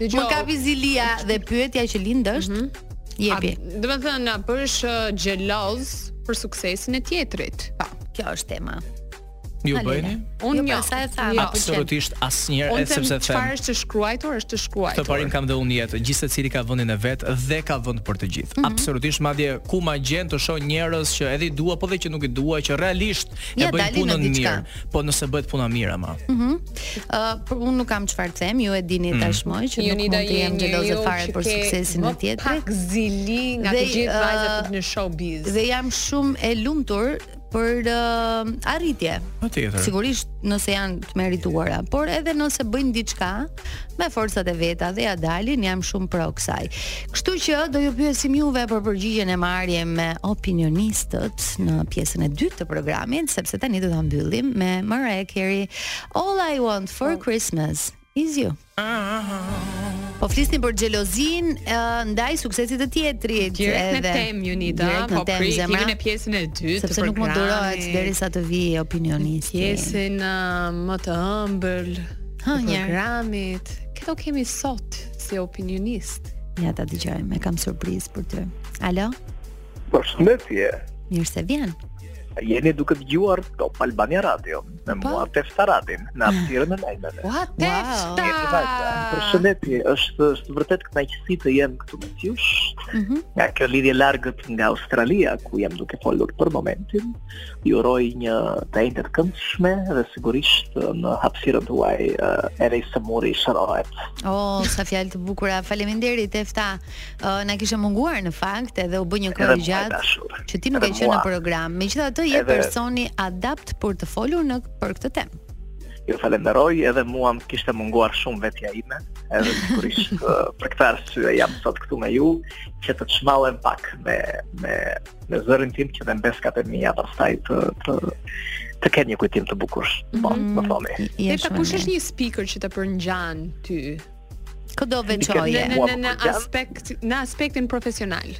Speaker 9: Më kapi zilia dhe pyetja që lind është jepi.
Speaker 5: Do të thënë na bësh ë, xheloz për suksesin e tjetrit.
Speaker 9: Po, kjo është tema.
Speaker 6: Ju bëjni?
Speaker 5: Unë
Speaker 9: Jo,
Speaker 5: jo.
Speaker 9: pastaj e tha,
Speaker 5: jo.
Speaker 6: Absolutisht asnjëherë,
Speaker 5: Unë
Speaker 6: edhe sepse
Speaker 5: them
Speaker 6: them.
Speaker 5: çfarë është të shkruajtur, është të
Speaker 6: Këtë
Speaker 5: shkruajtur.
Speaker 6: parim kam dhe unë jetë, gjithë se cili ka vendin e vetë dhe ka vend për të gjithë.
Speaker 4: Mhm.
Speaker 6: Absolutisht, madje ku ma gjen të shoh njerëz që edhe i dua, po dhe që nuk i dua, që realisht e
Speaker 9: Ja,
Speaker 6: bëjnë
Speaker 9: dalin në
Speaker 6: punën
Speaker 9: diçka.
Speaker 6: mirë, po nëse bëhet puna mirë ama.
Speaker 4: Mm.
Speaker 9: Mhm. Ë, për unë nuk kam çfarë të them, ju e dini
Speaker 6: Mhm.
Speaker 9: tashmë që nuk mund
Speaker 5: Jonida
Speaker 9: të
Speaker 5: je
Speaker 9: jem
Speaker 5: njeriu
Speaker 9: xheloze fare
Speaker 5: që
Speaker 9: për
Speaker 5: ke
Speaker 9: suksesin
Speaker 5: më
Speaker 9: e tjetrit.
Speaker 5: Pak zili nga të
Speaker 9: Dhe,
Speaker 5: gjithë vajzat
Speaker 9: ë,
Speaker 5: në showbiz.
Speaker 9: Dhe jam shumë e lumtur për uh, arritje.
Speaker 6: Patjetër.
Speaker 9: Sigurisht nëse janë të merituara, por edhe nëse bëjnë diçka me forcat e veta dhe ja dalin, jam shumë pro kësaj. Kështu që do ju pyesim juve për përgjigjen e marrje me opinionistët në pjesën e dytë të programit, sepse tani do ta mbyllim me Mariah Carey All I Want for Christmas is you. Po flisni për xhelozin ë, ndaj suksesit të tjetrit.
Speaker 5: Direkt në
Speaker 9: edhe-
Speaker 5: temë Jonida,
Speaker 9: direkt në
Speaker 5: po
Speaker 9: temë,
Speaker 5: pri
Speaker 9: zemra,
Speaker 5: kemi në pjesën e dytë të
Speaker 9: sepse nuk mund durohet
Speaker 5: programit.
Speaker 9: derisa të vi opinionisti.
Speaker 5: pjesën ë, më të ëmbël
Speaker 9: Ha,
Speaker 5: të
Speaker 9: njerë.
Speaker 5: programit. Këto kemi sot si opinionist.
Speaker 9: Ja ta dëgjojmë, e kam surprizë për ty. Alo,
Speaker 10: Përshëndetje.
Speaker 9: mirë se vjen.
Speaker 10: Jeni duke dëgjuar Top Albania Radio me
Speaker 9: Po.
Speaker 10: mua Tef Taratin në hapësirën e lajmeve.
Speaker 5: What the wow.
Speaker 9: Ah.
Speaker 10: Përshëndetje, është është vërtet kënaqësi të jem këtu me ju.
Speaker 9: Mhm.
Speaker 10: Nga kjo lidhje largët nga Australia ku jam duke folur për momentin, ju uroj një të njëjtë të këndshme dhe sigurisht eh, në hapësirën tuaj eh, ere i sëmuri shërohet.
Speaker 9: Oh, sa fjalë të bukura. Faleminderit Efta. Uh, na kishe munguar në fakt edhe u bë një
Speaker 10: Edhe
Speaker 9: kohë
Speaker 10: mua e
Speaker 9: gjatë
Speaker 10: dashur.
Speaker 9: që ti nuk e
Speaker 10: Edhe
Speaker 9: qenë në
Speaker 10: mua.
Speaker 9: program. Megjithatë je
Speaker 10: Edhe-
Speaker 9: personi adapt për të folur në për këtë temë.
Speaker 10: Ju falenderoj edhe mua më kishte munguar shumë vetja ime, edhe sigurisht ë, për këtë arsye jam sot këtu me ju që të çmallem pak me me me zërin tim që dhe mbeskat e mia pastaj të të të kenë një kujtim të bukur.
Speaker 5: Mhm.
Speaker 10: Po, më thoni.
Speaker 5: Dhe ta kush është një speaker që të përngjan ty?
Speaker 9: Këdo
Speaker 5: Në në në, në aspekt në aspektin profesional.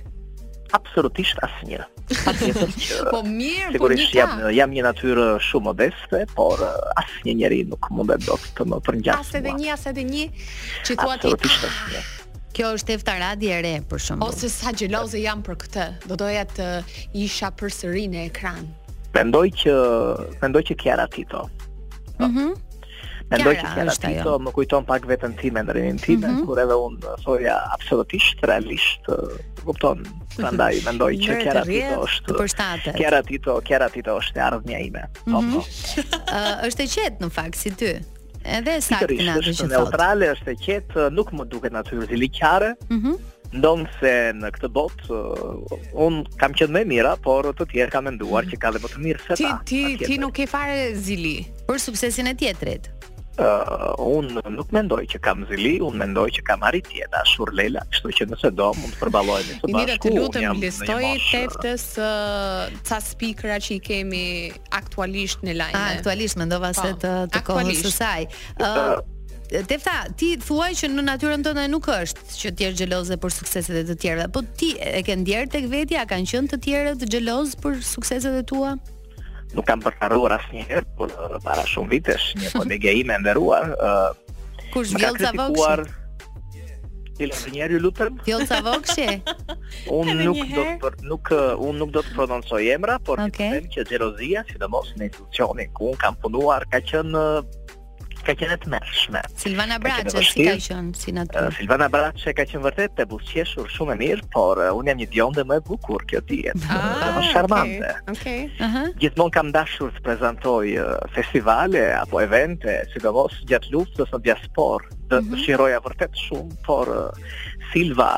Speaker 10: Absolutisht asnjë. Patjetër që
Speaker 5: Po mirë, po një
Speaker 10: sigurisht
Speaker 5: ka.
Speaker 10: jam jam një natyrë shumë modeste, por ë, asnjë njeri nuk mundet dot të më
Speaker 5: As
Speaker 10: përngjas.
Speaker 5: edhe
Speaker 10: mua.
Speaker 5: një, as edhe një që thua ti.
Speaker 10: Absolutisht asnjë.
Speaker 9: Kjo është Efta Radi e re për shembull.
Speaker 5: Ose sa xheloze jam për këtë. Do doja të isha përsëri në ekran.
Speaker 10: Mendoj që mendoj që Kiara Tito.
Speaker 9: Mhm.
Speaker 10: Mendoj që
Speaker 9: Kiara
Speaker 10: Kiara
Speaker 9: është
Speaker 10: Tito
Speaker 9: ajo. Mhm.
Speaker 10: më kujton pak veten time në rinin time, kur edhe unë thoja absolutisht realisht, ë, kupton, prandaj mendoj që
Speaker 9: Merret e
Speaker 10: Kiara
Speaker 9: rrjedh,
Speaker 10: Tito
Speaker 9: të
Speaker 10: është
Speaker 9: përshtatet.
Speaker 10: Kiara Tito, Kiara Tito është e ardhmja ime. Po,
Speaker 9: Mhm.
Speaker 10: po.
Speaker 9: Ë, është e qetë në fakt si ty. Edhe saktë
Speaker 10: Pikërisht
Speaker 9: në atë
Speaker 10: është
Speaker 9: që thotë.
Speaker 10: neutrale, është e qetë, ë, nuk më duket natyrë ziliqare.
Speaker 9: Mhm.
Speaker 10: Ndonë se në këtë botë ë, unë kam qenë më e mira, por të tjerë kam
Speaker 9: Mhm.
Speaker 10: menduar që ka dhe më të mirë se
Speaker 5: Ti
Speaker 10: ta.
Speaker 5: ti
Speaker 10: patjetër.
Speaker 5: ti nuk ke fare zili.
Speaker 9: Për suksesin e tjetrit.
Speaker 10: Uh, unë nuk mendoj që kam zili, unë mendoj që kam arritje dashur Lela, kështu që nëse do mund të përballohemi së
Speaker 5: Mira,
Speaker 10: bashku.
Speaker 5: të
Speaker 10: unë
Speaker 5: lutem
Speaker 10: jam në një
Speaker 5: listoj
Speaker 10: moshë-
Speaker 5: teftës ë, ca speakera që i kemi aktualisht në lajme.
Speaker 9: A, aktualisht mendova se
Speaker 5: Po,
Speaker 9: të të kohës
Speaker 5: aktualisht.
Speaker 9: së saj. Ë Tefta, ti thuaj që në natyrën tënde nuk është që ti je xheloze për sukseset e të tjerëve, po ti e ke ndjerë tek vetja, a kanë qenë të tjerët xheloz për sukseset e tua?
Speaker 10: Nuk kam përkaruar asnjëherë, por uh, para shumë vitesh një kolege ime e nderuar, uh,
Speaker 9: Kur
Speaker 10: më ka
Speaker 9: zgjodh
Speaker 10: kritikuar Cila të njerë ju lutëm?
Speaker 9: Vjolca Vokshi.
Speaker 10: Unë
Speaker 9: Edhe
Speaker 10: nuk
Speaker 9: një
Speaker 10: do të për, nuk uh, unë nuk do të prononcoj emra, por okay. të them që xhelozia, sidomos në institucionin ku unë kam punuar, ka qenë uh, ka qenë e tmerrshme.
Speaker 9: Silvana
Speaker 10: Ka qenë e
Speaker 9: Braçe si ka
Speaker 10: vështirë.
Speaker 9: qenë si
Speaker 10: Uh,
Speaker 9: natyrë.
Speaker 10: Silvana Braçe ka qenë vërtet e buzëqeshur shumë e mirë, por uh, unë jam një djonde më e bukur kjo dihet. Ah, më charmante.
Speaker 5: Okej.
Speaker 9: Aha.
Speaker 10: Gjithmonë kam dashur të prezantoj uh, festivale apo evente, sidomos gjatë luftës në diaspor. Dë mm shiroja vërtet shumë, por uh, Silva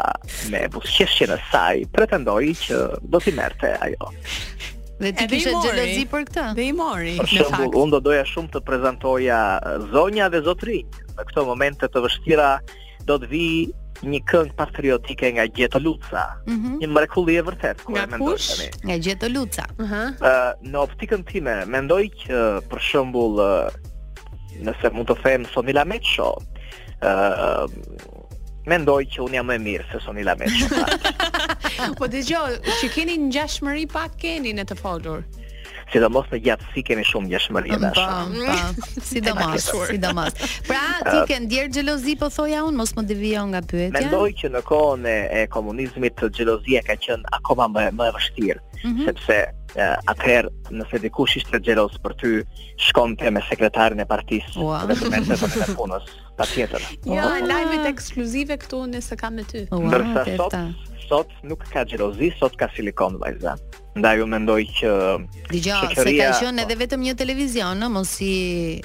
Speaker 10: me buzëqeshjen e saj pretendoi që do t'i merrte ajo.
Speaker 4: Dhe ti
Speaker 5: Edhe i
Speaker 4: kishe
Speaker 5: mori.
Speaker 4: xhelozi për këtë?
Speaker 9: Ah.
Speaker 4: Dhe i mori.
Speaker 10: Për shembull, unë do doja shumë të prezantoja zonja dhe zotrinj. Në këto momente të vështira do të vi një këngë patriotike nga Gjeto Luca.
Speaker 4: Mhm.
Speaker 10: Një mrekulli e vërtet kur e mendoj tani.
Speaker 4: Nga Gjeto Luca.
Speaker 10: Ë, në optikën time, mendoj që për shembull ë, nëse mund të them Sonila Meço, ë mendoj që unë jam më e mirë se Sonila pra. Meço.
Speaker 5: Po dëgjoj, që keni një ngjashmëri pak keni në të folur.
Speaker 10: Sidomos në gjatësi kemi shumë gjashmëri dashur.
Speaker 4: Po, sidomos,
Speaker 10: Patjetër.
Speaker 4: sidomos. Pra ti ke ndjer xhelozi po thoja unë, mos më devijo nga pyetja.
Speaker 10: Mendoj që në kohën e, e komunizmit xhelozia ka qenë akoma më më e vështirë,
Speaker 4: Mhm.
Speaker 10: sepse e, atëherë nëse dikush ishte xheloz për ty, shkonte me sekretarin e partisë
Speaker 4: Ua.
Speaker 10: dhe të merrte punën e punës, patjetër.
Speaker 5: Ja, lajmet ekskluzive këtu nëse kam me ty.
Speaker 10: Ndërsa sot sot nuk ka xhelozi, sot ka silikon vajza. Ndaj ju mendoj që
Speaker 4: Dgjoj, se ka
Speaker 10: shoqëria-
Speaker 4: qenë edhe vetëm një televizion, ë, mos i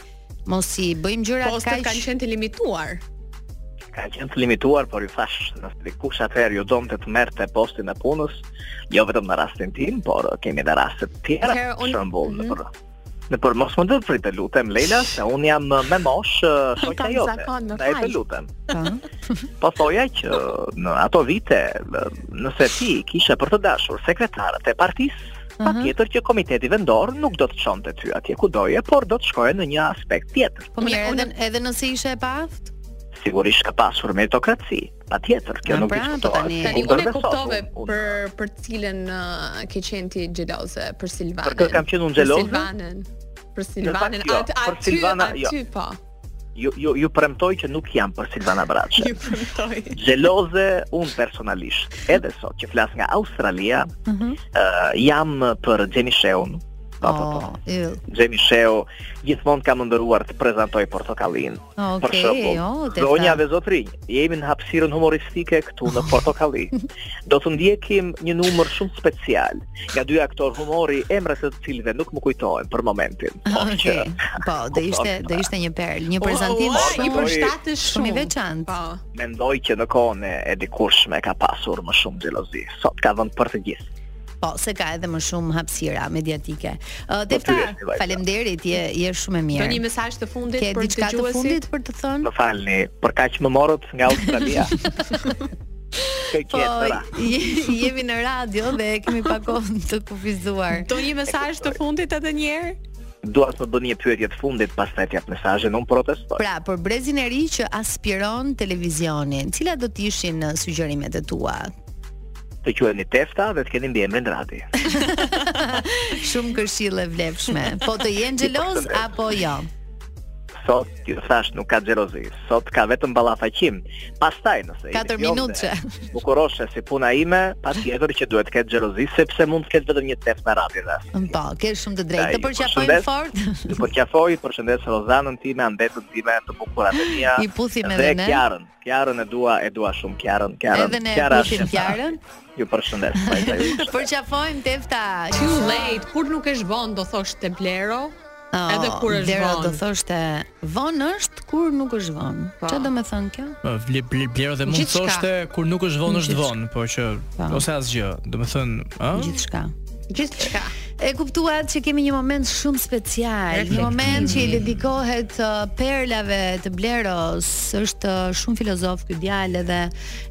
Speaker 4: mos i bëjmë gjëra
Speaker 9: Po,
Speaker 4: kaq.
Speaker 5: Postët kanë Pra, qenë të limituar.
Speaker 10: ka qenë të limituar, por ju thash, nëse dikush atëherë ju donte të merrte postin e punës, jo vetëm në rastin tim, por kemi edhe raste të tjera,
Speaker 5: Atëherë
Speaker 10: për
Speaker 5: unë- Mhm.
Speaker 10: shembull, në për Në për mos më ndër pritë lutem Leila se un jam me mosh ë, shokja
Speaker 5: Po, Kam
Speaker 10: jote.
Speaker 5: zakon, më
Speaker 10: Ndaj
Speaker 5: fal.
Speaker 10: të lutem. Po thoja që në ato vite ë, nëse ti kishe për të dashur sekretarët e partisë,
Speaker 5: Mhm.
Speaker 10: patjetër që komiteti vendor nuk do të çonte ty atje ku doje, por do të shkoje në një aspekt tjetër.
Speaker 4: Po mirë, edhe edhe nëse ishe e paaft?
Speaker 10: Sigurisht ka pasur meritokraci, patjetër, kjo
Speaker 4: Ah,
Speaker 10: nuk
Speaker 4: pra, po
Speaker 10: diskutohet.
Speaker 4: tani-
Speaker 5: Tani
Speaker 10: Unë
Speaker 5: unë e
Speaker 10: besoj,
Speaker 5: kuptove
Speaker 10: unë-
Speaker 5: për për cilën uh, ke qenë ti xheloze për Silvanën.
Speaker 10: Për kë kam qenë unë
Speaker 5: Për
Speaker 10: xheloze?
Speaker 5: Silvanën. Për Silvanën.
Speaker 10: Në fakt, jo.
Speaker 5: Aty
Speaker 10: Për
Speaker 5: aty
Speaker 10: Silvana, jo.
Speaker 5: aty po.
Speaker 10: ju, ju, ju premtoj që nuk jam për Silvana Braçe.
Speaker 5: Ju premtoj.
Speaker 10: Xheloze unë personalisht, edhe sot që flas nga Australia,
Speaker 4: Mhm.
Speaker 10: ë, jam për Xhemi Sheun. Po, po, po.
Speaker 4: Yll.
Speaker 10: Xhemi Sheu gjithmonë ka më ndëruar të prezantoj portokallin.
Speaker 4: Ah, Okej, oh,
Speaker 10: për shembull,
Speaker 4: o, te
Speaker 10: zonja
Speaker 4: tha.
Speaker 10: dhe zotrinj, jemi në hapësirën humoristike këtu në Portokalli. Do të ndjekim një numër shumë special nga dy aktorë humori, emrat e të cilëve nuk më kujtohen për momentin.
Speaker 4: Okej. Po, do ishte do ishte një perl,
Speaker 10: Po,
Speaker 4: një prezantim
Speaker 10: ua,
Speaker 4: shumë
Speaker 10: i përshtatesh
Speaker 4: shumë i
Speaker 10: shumë.
Speaker 4: veçantë. Po.
Speaker 10: Mendoj që në kohën e e dikurshme ka pasur më shumë xhelozi. Sot ka vënd për të gjithë.
Speaker 4: Po, se ka edhe më shumë hapësira mediatike. Ë,
Speaker 10: ty
Speaker 4: Tefta,
Speaker 10: je si vajza.
Speaker 4: faleminderit, je je shumë e mirë.
Speaker 5: Do një mesazh të fundit
Speaker 4: Ke
Speaker 5: për
Speaker 4: diçka të
Speaker 5: dëgjuesit?
Speaker 4: fundit për të thënë?
Speaker 10: Më falni, për kaq më morët nga Australia. Kë
Speaker 4: Po,
Speaker 10: kjetëra.
Speaker 4: je- jemi në radio dhe kemi pa kohë të kufizuar.
Speaker 5: Do një mesazh të fundit edhe një herë?
Speaker 10: Dua të më bëni një pyetje të fundit, pastaj t'jap mesazhin, unë protestoj.
Speaker 4: Pra, për brezin e ri që aspiron televizionin, cilat do të ishin ë, sugjerimet e tua?
Speaker 10: Të quheni Tefta dhe të keni mbiemrin Radi.
Speaker 4: Shumë këshille vlefshme. Po të jenë xheloz apo jo?
Speaker 10: Sot ju thash nuk ka xhelozi, sot ka vetëm ballafaqim. Pastaj nëse
Speaker 4: 4
Speaker 10: jeni djomë
Speaker 4: minutëshe.
Speaker 10: dhe Bukuroshe si puna ime, patjetër që duhet të ketë xhelozi sepse mund të ketë vetëm një teft në radio rast.
Speaker 4: Po, ke shumë të drejtë.
Speaker 10: Ai,
Speaker 4: Të përqafojmë
Speaker 10: përshëndes.
Speaker 4: fort.
Speaker 10: Ju përqafoj, përshëndes Rozanën time, andetën time të bukurat e mia.
Speaker 4: I puthim
Speaker 10: dhe
Speaker 4: edhe ne.
Speaker 10: Kiarën. Kiarën e dua, e dua shumë Kiarën, Kiarën.
Speaker 4: Edhe ne
Speaker 10: Kiara
Speaker 4: puthim
Speaker 10: është e para.
Speaker 4: Kiarën.
Speaker 10: Ju përshëndes. vajza ju.
Speaker 4: Përqafojmë Tefta.
Speaker 5: Too late, kur nuk është vonë do thosh te blero,
Speaker 4: Oh,
Speaker 5: edhe kur është
Speaker 4: Dero
Speaker 5: vonë. Po.
Speaker 4: do thoshte vonë është kur nuk është vonë. Çfarë do me thënë kjo?
Speaker 5: Hmm?
Speaker 6: Vle vle vlero dhe mund të
Speaker 4: Gjithçka.
Speaker 6: thoshte kur nuk është vonë është
Speaker 4: Gjithçka.
Speaker 6: vonë, po që ose asgjë. Domethënë, ë?
Speaker 4: Gjithçka.
Speaker 5: Gjithçka.
Speaker 4: E kuptuat që kemi një moment shumë special, një moment që i
Speaker 5: Mm.
Speaker 4: dedikohet uh, perlave të Bleros. Është uh, shumë filozof ky djalë edhe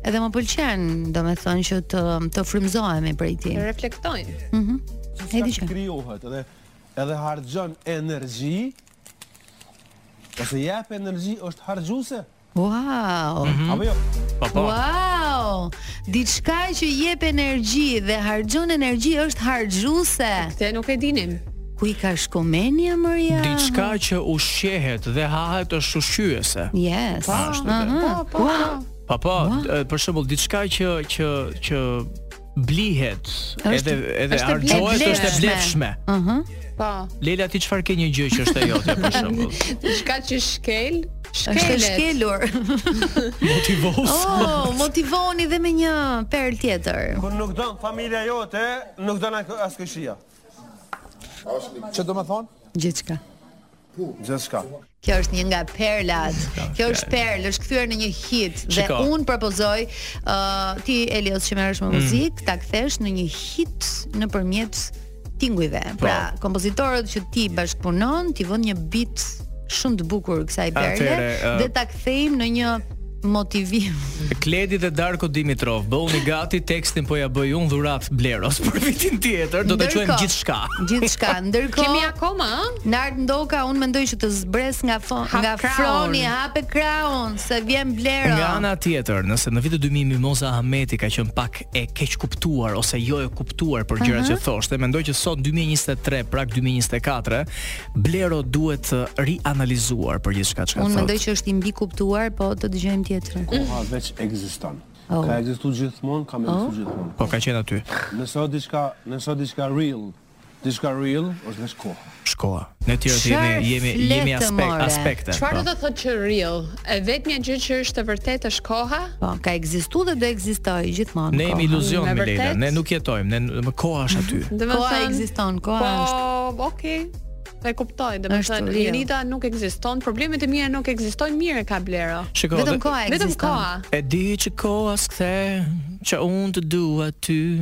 Speaker 4: edhe më pëlqen, domethënë që të të frymëzohemi prej tij.
Speaker 5: Reflektojnë.
Speaker 4: Mhm.
Speaker 12: që
Speaker 4: Edi
Speaker 12: s'ka krijohet edhe edhe harxhon energji ose jep energji është harxuese.
Speaker 4: Wow.
Speaker 12: Apo jo?
Speaker 6: Po.
Speaker 4: Wow! Diçka që jep energji dhe harxhon energji është harxhuese.
Speaker 5: Këtë nuk e dinim.
Speaker 4: Ku i ka shkumenja mëria?
Speaker 6: Diçka që ushqehet dhe hahet është ushqyese.
Speaker 4: Yes.
Speaker 6: Pa, ashtu dhe.
Speaker 4: Aha. Wow.
Speaker 6: Po po, e, për shembull diçka që që që blihet
Speaker 4: Është-
Speaker 6: edhe edhe
Speaker 4: është e
Speaker 6: harxhohet
Speaker 4: vlefshme.
Speaker 6: është e vlefshme.
Speaker 4: Aha.
Speaker 5: Po.
Speaker 6: Leila ti çfarë ke një gjë që është e jote për shembull?
Speaker 5: Diçka që shkel,
Speaker 6: po.
Speaker 4: Është
Speaker 5: shkelet.
Speaker 4: shkelur.
Speaker 6: Motivos.
Speaker 4: Oh, motivoni dhe me një perl tjetër.
Speaker 12: Kur nuk don familja jote, nuk don askëshia. Ço do të thon?
Speaker 4: Gjithçka.
Speaker 12: Gjithçka.
Speaker 4: Kjo është një nga perlat. Kjo është perl, është kthyer në një hit dhe
Speaker 12: Shiko.
Speaker 4: un propozoj uh,
Speaker 6: Mm.
Speaker 4: ë ti Elios që merresh me muzikë, ta kthesh në një hit nëpërmjet tingujve.
Speaker 6: Po.
Speaker 4: Pra, kompozitorët që ti bashkëpunon, ti vën një bit shumë të bukur kësaj berde
Speaker 6: Atëhere, ë,
Speaker 4: dhe ta kthejmë në një motivim.
Speaker 6: Kledi dhe Darko Dimitrov, bëuni gati, tekstin po ja bëj unë dhurat Bleros për vitin tjetër, do të
Speaker 4: Ndërkohë-
Speaker 6: quajmë gjithçka.
Speaker 4: Gjithçka, ndërkohë
Speaker 5: Kemi akoma, ë?
Speaker 4: Nart ndoka, unë mendoj që të zbres nga fon,
Speaker 5: Hap
Speaker 4: nga
Speaker 5: kraun.
Speaker 4: froni, hape kraun, se vjen blera.
Speaker 6: Nga ana tjetër, nëse në vitin 2000 Mimoza Ahmeti ka qenë pak e keq kuptuar ose jo e kuptuar për gjërat
Speaker 4: Aha.
Speaker 6: që thoshte, mendoj që sot 2023, prag 2024, Blero duhet të rianalizuar për gjithçka çka
Speaker 4: Unë mendoj
Speaker 6: thotë.
Speaker 4: që është i mbi kuptuar, po të dëgjojmë tjetrën.
Speaker 12: Koha veç ekziston.
Speaker 4: Oh.
Speaker 12: Ka ekzistuar gjithmonë, ka më
Speaker 4: Oh.
Speaker 12: ekzistuar gjithmonë.
Speaker 6: Po ka qenë aty.
Speaker 12: Nëse o diçka, nëse o diçka real, diçka real është veç koha.
Speaker 6: Shkoa. Ne tjerë të jemi jemi jemi aspek, aspekte.
Speaker 5: Çfarë
Speaker 6: po.
Speaker 5: do të thotë që real? E vetmja gjë që është e vërtetë është koha?
Speaker 4: Po, ka ekzistuar dhe do ekzistojë gjithmonë.
Speaker 6: Ne jemi
Speaker 4: koha.
Speaker 6: iluzion
Speaker 5: Në
Speaker 6: me Leila,
Speaker 5: vërtet?
Speaker 6: ne nuk jetojmë, ne më koha është aty.
Speaker 4: Koha ekziston, koha
Speaker 5: Po, okay. E kuptoj, do të
Speaker 4: Është
Speaker 5: thënë
Speaker 4: real.
Speaker 5: Jonida nuk ekziston, problemet e mia nuk ekzistojnë, mirë ka Blero.
Speaker 4: po,
Speaker 6: Shiko, dhe-
Speaker 5: Vetëm koha.
Speaker 6: E di që koha s'kthe, që unë të dua ty.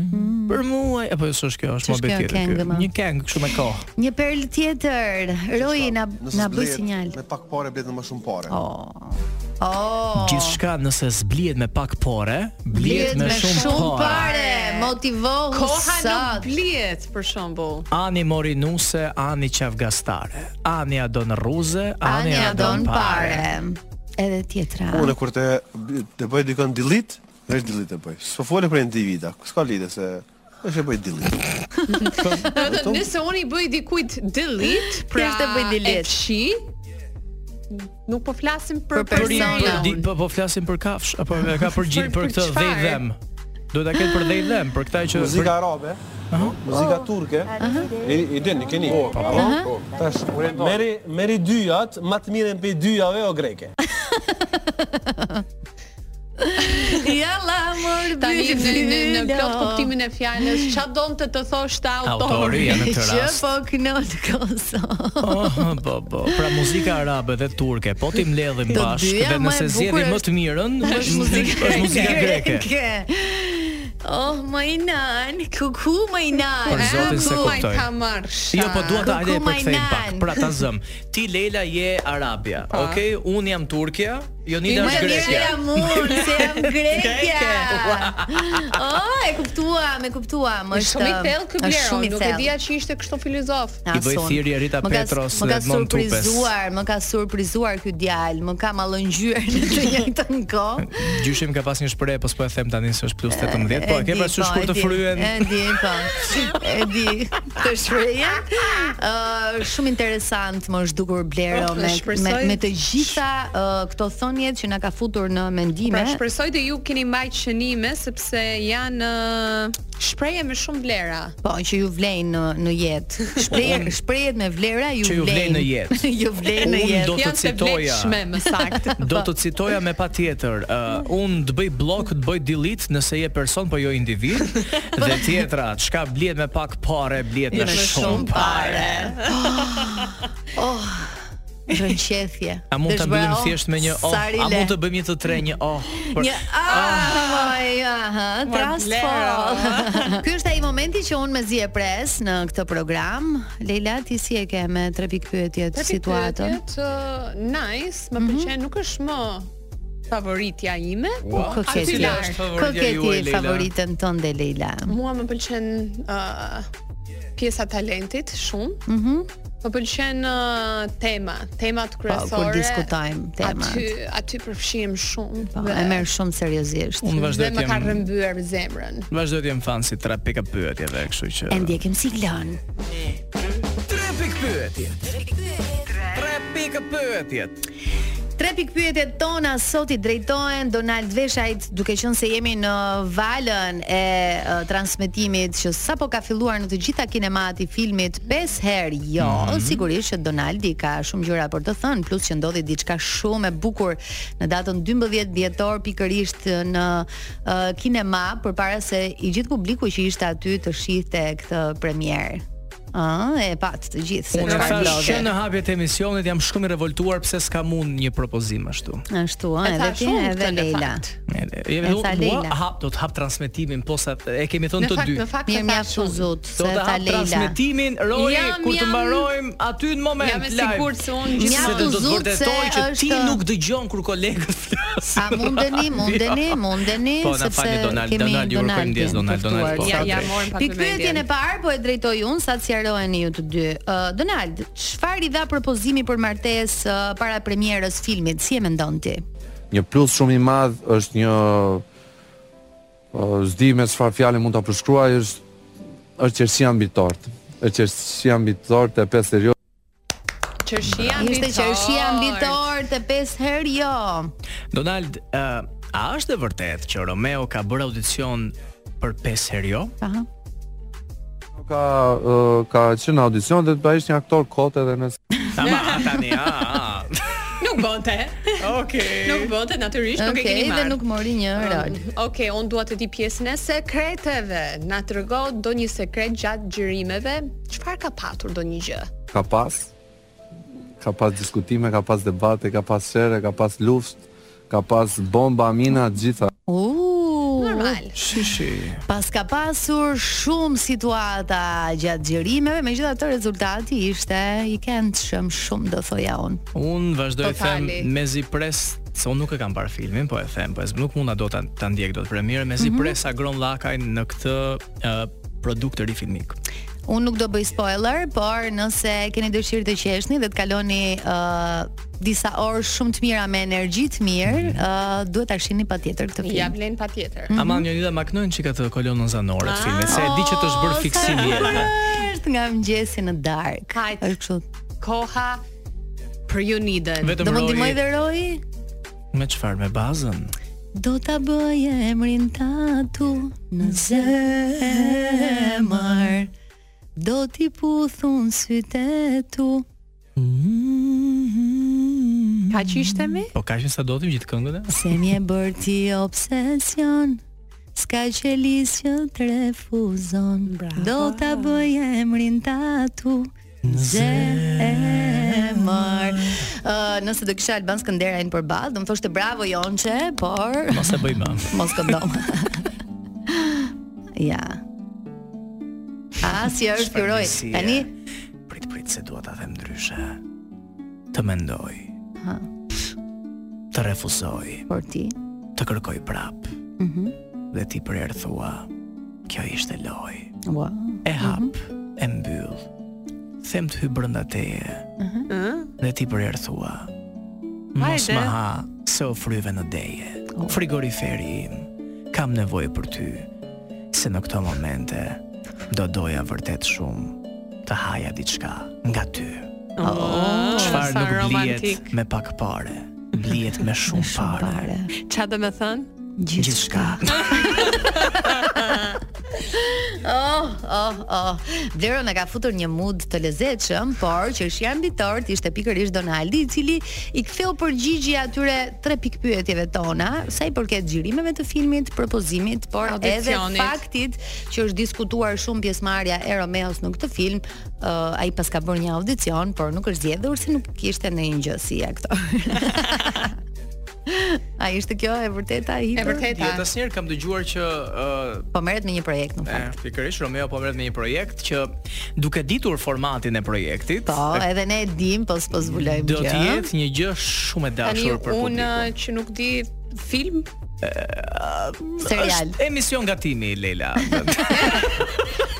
Speaker 6: Për mua, apo jo s'është kjo, është
Speaker 4: S'është
Speaker 6: më
Speaker 4: kjo
Speaker 6: tjetër
Speaker 4: këngë,
Speaker 6: kjo.
Speaker 4: ma.
Speaker 6: Një këngë kështu me kohë.
Speaker 4: Një perl tjetër. Roji na
Speaker 8: Nëse
Speaker 4: na bëj
Speaker 8: zblehet
Speaker 4: sinjal.
Speaker 8: Me pak pare blet në më shumë pare.
Speaker 4: Oh. Oh.
Speaker 6: Gjithçka nëse zblihet me pak pore,
Speaker 4: Blihet
Speaker 6: blihet me, shumë, pore.
Speaker 4: pare, motivohu
Speaker 5: Koha
Speaker 4: sot.
Speaker 5: nuk blihet për shembull.
Speaker 6: Ani mori nuse, ani qafgastare. Ani adon rruze, ani,
Speaker 4: Anja
Speaker 6: adon
Speaker 4: don
Speaker 6: pare.
Speaker 4: pare. Edhe tjetra.
Speaker 8: Unë kur të të bëj dikon delete, veç delete e bëj. S'po fole për individa, s'ka lidhje se është e bëj delete.
Speaker 5: Do të thotë nëse unë i bëj dikujt delete, pra
Speaker 4: Thjesht e bëj delete.
Speaker 5: e fshi, nuk po flasim për,
Speaker 6: Për i- për
Speaker 5: persona.
Speaker 6: di, po, po flasim për kafsh, apo e ka për gjithë për
Speaker 5: Për
Speaker 6: këtë dhe i
Speaker 5: çfarë?
Speaker 6: dhem. Do ta ketë për dhe i dhem, për këtë që
Speaker 12: Muzika arabe, muzika turke, i, i din, i keni. Po, po. Tash, meri, meri dyjat, ma të mirën për dyjave o greke.
Speaker 4: Jalla mor
Speaker 5: Tani në, në, në plot kuptimin e fjalës, çfarë donte të thoshte autori?
Speaker 6: Autoria në këtë
Speaker 4: Që
Speaker 6: rast.
Speaker 4: po knot Kosovë.
Speaker 6: Oh, po, po. Pra muzika arabe dhe turke, po ti mledhim
Speaker 4: Të
Speaker 6: bashkë
Speaker 4: dyja,
Speaker 6: dhe
Speaker 4: ma e
Speaker 6: nëse
Speaker 4: bukur
Speaker 6: zgjedhim më
Speaker 4: është-
Speaker 6: të mirën,
Speaker 4: Është muzika
Speaker 6: është muzika greke.
Speaker 4: Oh, më i nan, kuku më i nan.
Speaker 6: Për zotin se
Speaker 4: Kuku,
Speaker 6: kuptoj. Jo, po dua ta hajde
Speaker 4: Kuku,
Speaker 6: për
Speaker 4: my
Speaker 6: kthejm pak.
Speaker 4: nan.
Speaker 6: Pra ta zëm. Ti Leila je Arabia. Okej, un jam Turqja, Jonida
Speaker 4: Më
Speaker 6: është
Speaker 4: mirë
Speaker 6: Greqja.
Speaker 4: jam unë, se jam grekja. oh, e kuptuam, e kuptuam. Është
Speaker 5: Shumë i thellë ky
Speaker 4: është
Speaker 5: Blero,
Speaker 4: shumë i
Speaker 5: nuk e
Speaker 4: thellë.
Speaker 5: dija që ishte kështu filozof.
Speaker 6: I bëj
Speaker 4: Asun.
Speaker 6: thirrje Rita
Speaker 4: Më ka-
Speaker 6: Petros
Speaker 4: Më ka
Speaker 6: dhe Edmond Tupes.
Speaker 4: surprizuar, më ka surprizuar ky djalë, më ka mallëngjyer në të njëjtën kohë.
Speaker 6: Gjyshim ka pas një shpreh, po s'po e them tani se është plus 18, po e ke
Speaker 4: di,
Speaker 6: parasysh kur
Speaker 4: e
Speaker 6: të
Speaker 4: di,
Speaker 6: fryen.
Speaker 4: E di, po. E di. Të shpreja. Ë shumë interesant më është dukur Blero
Speaker 5: Oh,
Speaker 4: me, me
Speaker 5: shpresoj-
Speaker 4: me të gjitha uh, këto thonjet që na ka futur në mendime.
Speaker 5: Pra shpresoj të ju keni mbajt shënime sepse janë ë, shprehje me shumë vlera.
Speaker 4: Po, që ju vlejnë në, në jetë. Shpreh, shprehet me vlera ju
Speaker 6: Që ju vlejnë në jetë.
Speaker 4: ju vlejnë në
Speaker 6: Unë
Speaker 4: jetë.
Speaker 6: do të
Speaker 5: Janë të
Speaker 6: citoja.
Speaker 5: vlefshme më saktë.
Speaker 6: Do të citoja me patjetër, uh, unë të bëj blok, të bëj delete nëse je person po jo individ. dhe tjetra, çka blihet me pak parë, blihet me
Speaker 4: Me
Speaker 6: shumë
Speaker 4: shumë
Speaker 6: parë.
Speaker 4: Oh, rënqethje.
Speaker 6: A mund ta
Speaker 4: Dësh
Speaker 6: bëjmë
Speaker 4: bravo,
Speaker 6: thjesht me një oh,
Speaker 4: sari
Speaker 6: a
Speaker 4: le.
Speaker 6: mund të Ah. bëjmë një të tre një oh.
Speaker 4: Një ahoj, aha, transfer.
Speaker 5: blera.
Speaker 4: Ky është ai momenti që unë mezi e pres në këtë program. Leila, ti si e ke me tre pikë pyetjet situatën?
Speaker 5: Të uh, nice,
Speaker 4: Mhm.
Speaker 5: më pëlqen, nuk është më favoritja ime.
Speaker 4: Po, Ko ke
Speaker 5: aty
Speaker 4: ti?
Speaker 5: larg.
Speaker 4: Ko ke ti favoritën tënde Leila?
Speaker 5: Mua më pëlqen uh, pjesa talentit shumë.
Speaker 4: Mhm.
Speaker 5: Më pëlqen uh, tema, temat
Speaker 4: Po,
Speaker 5: kryesore.
Speaker 4: kur diskutojmë temat.
Speaker 5: Aty aty përfshihem shumë.
Speaker 4: Po, e merr shumë seriozisht.
Speaker 6: Unë vazhdoj
Speaker 5: Dhe
Speaker 6: të
Speaker 5: më ka
Speaker 6: jem-
Speaker 5: rrëmbyer zemrën.
Speaker 6: Vazhdoj të jem fan si tre pika pyetjeve, kështu që.
Speaker 4: E ndjekim si glon.
Speaker 6: Tre pikë pyetjet. Tre pikë pyetjet.
Speaker 4: Tre pikë pyetjet tona sot i drejtohen Donald Veshajt, duke qenë se jemi në valën e, e transmetimit që sapo ka filluar në të gjitha kinemat i filmit 5 herë. Jo,
Speaker 5: Mhm.
Speaker 4: sigurisht që Donaldi ka shumë gjëra për të thënë, plus që ndodhi diçka shumë e bukur në datën 12 dhjetor pikërisht në e, kinema përpara se i gjithë publiku që ishte aty të shihte këtë premierë. Ëh, e pat të gjithë se
Speaker 6: Unë e
Speaker 4: çfarë
Speaker 6: thash
Speaker 4: ndodhi.
Speaker 6: që në hapjet e emisionit jam shumë i revoltuar pse s'kam unë një propozim ashtu.
Speaker 4: Ashtu, ëh,
Speaker 5: E
Speaker 4: edhe
Speaker 5: tha
Speaker 4: ti
Speaker 5: shumë
Speaker 4: edhe
Speaker 5: këtë në
Speaker 4: Leila.
Speaker 5: fakt.
Speaker 6: Je
Speaker 9: E tha
Speaker 6: vetëm
Speaker 9: Leila.
Speaker 6: hap do të hap transmetimin posa e kemi
Speaker 9: Në
Speaker 6: thënë të
Speaker 9: fakt-
Speaker 6: dy.
Speaker 9: në fakt Mirë, e tha mjaft shumë. u zot, se
Speaker 6: Do të
Speaker 9: tha
Speaker 6: hap
Speaker 9: Leila.
Speaker 6: transmetimin Roy
Speaker 9: Jam-
Speaker 6: kur të
Speaker 9: jam-
Speaker 6: mbarojmë aty në moment
Speaker 9: jam e
Speaker 6: live.
Speaker 9: sigurt se unë-
Speaker 6: Gjithsesi
Speaker 9: Mjaft
Speaker 6: do
Speaker 9: u
Speaker 6: të
Speaker 9: zot
Speaker 6: vërtetoj
Speaker 9: se
Speaker 6: që ti
Speaker 9: është-
Speaker 6: nuk dëgjon kur kolegët flasin.
Speaker 9: A mundeni, mundeni, mundeni,
Speaker 6: Po, na falni,
Speaker 9: sepse
Speaker 6: Donald,
Speaker 9: kemi
Speaker 6: Donald, ju urojmë ndjes, Donald, Donald, po, Ja, ja, drejt. morën
Speaker 9: morën
Speaker 6: pak
Speaker 9: Pikë
Speaker 6: vëmendjen.
Speaker 9: pyetjen e parë po e drejtoj unë sa të sqaroheni ju të dy. Ë, Donald, çfarë i dha propozimi për martesë uh, ë, para premierës filmit? Si e mendon ti?
Speaker 8: Një plus shumë i madh është një ë, s'di me çfarë fjalë mund ta përshkruaj është është qersia mbi tort. Është qersia mbi tort e pesë serioz.
Speaker 5: Qershia mbi
Speaker 9: Ishte qershia mbi tort e pesë herë jo.
Speaker 6: Donald, uh, a është e vërtet që Romeo ka bërë audicion për 5 herë jo?
Speaker 9: Aha.
Speaker 8: Ka ë, ka qenë në audicion dhe ai është një aktor kot edhe nëse
Speaker 6: Tama, tani, a, a.
Speaker 5: Nuk bote. Okej. Nuk bote natyrisht, nuk e
Speaker 9: Okej,
Speaker 5: keni
Speaker 9: dhe
Speaker 5: marrë.
Speaker 9: nuk mori një
Speaker 5: Um,
Speaker 9: rol.
Speaker 5: Okej, unë dua të di pjesën e sekreteve. Na trego ndonjë sekret gjatë xhirimeve. Çfarë ka patur ndonjë gjë?
Speaker 8: ka pas ka pas diskutime, ka pas debate, ka pas shere, ka pas luftë, ka pas bomba, mina, të gjitha.
Speaker 9: U,
Speaker 5: normal.
Speaker 6: Shi shi.
Speaker 9: Pas ka pasur shumë situata gjatë xhirimeve, megjithatë rezultati ishte i këndshëm shumë do thoja unë.
Speaker 6: Un vazhdoj të
Speaker 9: Po.
Speaker 6: them
Speaker 9: Totali.
Speaker 6: mezi pres se unë nuk e kam parë filmin, po e them, po e nuk mund na do ta ta ndjek dot premierë mezi
Speaker 9: Mhm.
Speaker 6: pres Agron Llakaj në këtë uh, produkt të ri filmik.
Speaker 9: Unë nuk do bëj spoiler, por nëse keni dëshirë të qeshni dhe të kaloni ë disa orë shumë të mira me energji të mirë, ë duhet ta shihni patjetër këtë film.
Speaker 5: Ja vlen patjetër.
Speaker 6: Mm -hmm. Aman Jonida Maknojnë çika të kolonën zanore
Speaker 9: Ah.
Speaker 6: të filmit, se e di që të është
Speaker 9: Oh,
Speaker 6: bërë fiksim jetë.
Speaker 9: Është nga mëngjesi në dark. Është kështu.
Speaker 5: Koha për Jonidën.
Speaker 6: Vetëm
Speaker 9: Do më
Speaker 6: Roy-
Speaker 9: ndihmoj dhe Roy?
Speaker 6: Me çfarë me bazën?
Speaker 9: Do ta bëj emrin tatu në zemër. Do t'i puthun sytë e tu.
Speaker 5: Ka qishte mi?
Speaker 6: Po kaq sa do të gjithë këngën? e?
Speaker 9: Se mje bërë ti obsesion Ska që lisë që të refuzon Do të bëj emrin tatu Zemër uh, Nëse do kisha Alban Skënderajn për bazë Do më thoshte bravo Jonçe Por
Speaker 6: Mos e bëj më.
Speaker 9: Mos këndom Ja A, si është kjo roj
Speaker 6: Shpërbësie.
Speaker 9: Tani
Speaker 6: Prit prit se dua ta them ndryshe. Të mendoj,
Speaker 9: Ha,
Speaker 6: të refuzoj,
Speaker 9: por ti
Speaker 6: të kërkoj prap
Speaker 9: Mhm.
Speaker 6: dhe ti për erë thua, kjo ishte loj.
Speaker 9: Wow.
Speaker 6: E hap, e mbyll. Them të hy brenda teje Mhm. dhe ti për erë thua, mos
Speaker 13: Hajde.
Speaker 6: më ha se o fryve në deje. Frigoriferi im, kam nevojë për ty, se në këto momente do doja vërtet shumë të haja diçka nga ty.
Speaker 5: Oh,
Speaker 6: Çfarë
Speaker 5: sa
Speaker 6: nuk
Speaker 5: romantik.
Speaker 6: blihet me pak pare, blihet me shumë pare.
Speaker 5: Qa do me thënë?
Speaker 6: Gjithçka.
Speaker 9: Oh, oh, oh. Vlero na ka futur një mood të lezetshëm, por që është janë bitort ishte pikërisht Donaldi, i cili i ktheu përgjigje atyre tre pikpyetjeve tona sa i përket xhirimeve të filmit, propozimit, por edhe
Speaker 5: Audicionit.
Speaker 9: faktit që është diskutuar shumë pjesëmarrja e Romeos në këtë film. Uh, ai pas ka bërë një audicion, por nuk është zgjedhur se nuk kishte ndonjë gjë si aktor. A ishte kjo e vërteta e hipër?
Speaker 6: Jetë asnjëherë kam dëgjuar që ë,
Speaker 9: Po merret me një projekt në fakt.
Speaker 6: E, pikërisht Romeo po merret me një projekt që duke ditur formatin e projektit,
Speaker 9: Po,
Speaker 6: e-
Speaker 9: edhe ne e dim, po s'po zbulojmë gjë.
Speaker 6: do të jetë një gjë shumë e
Speaker 5: Tani
Speaker 6: dashur
Speaker 5: unë
Speaker 6: për
Speaker 5: uh,
Speaker 6: publikun.
Speaker 5: që nuk di film
Speaker 6: Është emision gatimi Leila.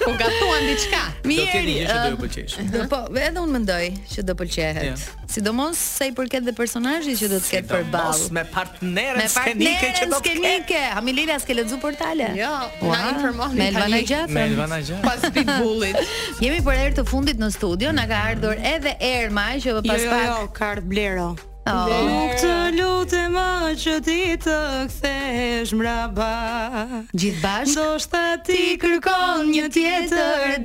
Speaker 5: Po gatuan diçka.
Speaker 6: Do t'jeni gjë që do ju pëlqesh.
Speaker 9: Do po, edhe unë mendoj që do pëlqehet.
Speaker 6: Ja.
Speaker 9: Sidomos sa i përket dhe personazhit që do të ketë përballë.
Speaker 6: Mos me partnerën
Speaker 9: Me
Speaker 6: skenike që
Speaker 9: partnerën
Speaker 6: do të
Speaker 9: skenike. Hamilila s'ke lexu portale? Jo,
Speaker 5: na informoni
Speaker 9: Me Elvana
Speaker 5: tani.
Speaker 9: Gjafën.
Speaker 6: Me Elvana Gjafën.
Speaker 5: Pas Pitbullit.
Speaker 9: Jemi për herë të fundit në studio, na ka ardhur edhe Erma që pas
Speaker 4: jo,
Speaker 9: pak.
Speaker 4: jo, ka ardhur Blero.
Speaker 9: Oh.
Speaker 4: Nuk të lutem më që ti të kthesh mbrapa.
Speaker 9: Gjithë bashkë.
Speaker 4: Ndoshta ti kërkon një tjetër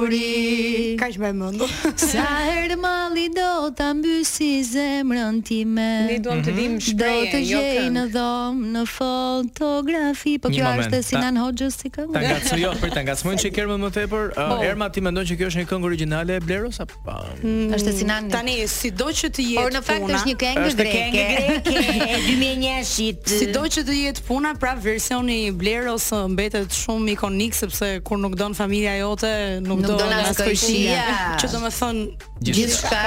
Speaker 4: dashuri. Kaq më mend.
Speaker 9: Sa herë malli do ta mbysi zemrën time.
Speaker 5: Ne duam të dim shprehje,
Speaker 9: Mhm. Do të
Speaker 5: jo
Speaker 9: gjej
Speaker 5: këngë.
Speaker 9: në dhomë, në fotografi, po
Speaker 6: Një
Speaker 9: kjo
Speaker 6: moment,
Speaker 9: është e
Speaker 6: ta-
Speaker 9: Sinan Hoxhës si këngë.
Speaker 6: Ta ngacmoj, jo, prit ta ngacmojnë që kërmën më tepër. Ë,
Speaker 9: Po.
Speaker 6: Erma ti mendon që kjo është një këngë origjinale e Bleros apo?
Speaker 9: Është e Sinan.
Speaker 4: Tani sido që të jetë.
Speaker 9: Por në fakt
Speaker 4: puna,
Speaker 9: është
Speaker 4: një këngë
Speaker 9: Është
Speaker 4: greke.
Speaker 9: këngë greke e
Speaker 4: 2001-shit.
Speaker 9: Sido që të jetë puna, prap versioni i Blerës ë, mbetet shumë ikonik sepse kur nuk don familja jote, nuk,
Speaker 4: Nuk
Speaker 9: do
Speaker 4: don as kojshia.
Speaker 9: Që do të thon
Speaker 4: Gjithçka.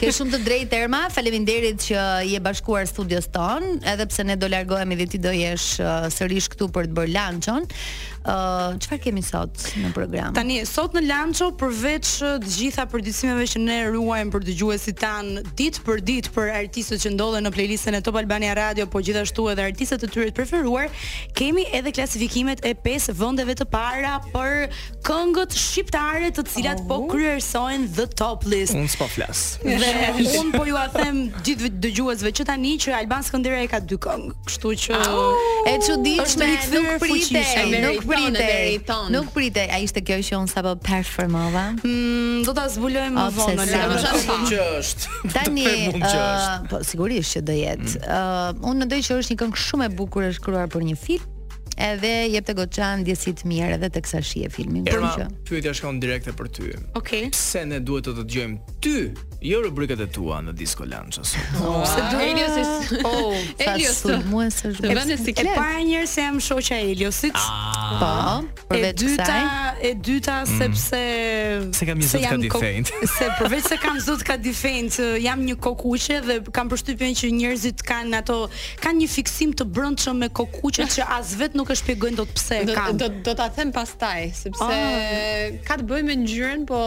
Speaker 4: Ke shumë të drejtë Erma. Faleminderit që je bashkuar studios ton, edhe pse ne do largohemi dhe ti do jesh uh, sërish këtu për të bërë lançon. Ë çfarë kemi sot në program?
Speaker 9: Tani sot në Lanço përveç ë, të gjitha përditësimeve që ne ruajmë për dëgjuesit tan ditë për ditë për artistët që ndodhen në playlistën e Top Albania Radio, po gjithashtu edhe artistët e tyre të preferuar, kemi edhe klasifikimet e pesë vendeve të para për këngët shqiptare të cilat po
Speaker 4: Oh.
Speaker 9: kryersojnë the top list.
Speaker 6: Unë s'po flas.
Speaker 9: Dhe un po ju a them gjithë dëgjuesve që tani që Alban Skëndera e ka dy këngë, kështu që
Speaker 4: E çuditshme,
Speaker 9: është rikthyer
Speaker 4: nuk pritej,
Speaker 9: fuqishëm.
Speaker 4: nuk pritej. Nuk pritej. Ai ishte kjo që un sapo performova.
Speaker 9: Mm, do ta zbulojmë më vonë. Lana.
Speaker 4: Obsesion.
Speaker 6: është.
Speaker 4: Tani,
Speaker 6: Performum që
Speaker 4: uh,
Speaker 6: është.
Speaker 4: po sigurisht që do jetë. Ë, unë mendoj që është një këngë shumë e bukur e shkruar për një film, edhe jep të goxhan ndjesi të mirë edhe teksa shije filmin.
Speaker 6: Erma,
Speaker 4: kështu që-
Speaker 6: pyetja shkon direkte për ty.
Speaker 9: Okej.
Speaker 6: Pse ne duhet të të dëgjojmë ty, jo rubrikat e tua në Disco Lancha sot?
Speaker 9: Oh, se do
Speaker 5: Elios
Speaker 9: është oh,
Speaker 4: sa Elios, sulmues është
Speaker 9: E
Speaker 4: vërtet.
Speaker 9: vënë si E
Speaker 4: Siklet.
Speaker 9: para njerë se jam shoqja e Eliosit.
Speaker 4: Po,
Speaker 9: E
Speaker 4: përveç
Speaker 9: dyta,
Speaker 4: kësaj?
Speaker 9: e dyta
Speaker 6: Mm.
Speaker 9: sepse
Speaker 6: Se kam një zot
Speaker 9: jam
Speaker 6: ka di
Speaker 9: ko-
Speaker 6: fejnt.
Speaker 9: Se përveç se kam zot ka di fejnt, jam një kokuqe dhe kam përshtypjen që njerëzit kanë ato kanë një fiksim të brëndshëm me kokuqet që as vet nuk e shpjegojnë dot pse e
Speaker 5: Do,
Speaker 9: kanë.
Speaker 5: do, do ta them pastaj, sepse
Speaker 9: Ah.
Speaker 5: ka të bëjë me ngjyrën, po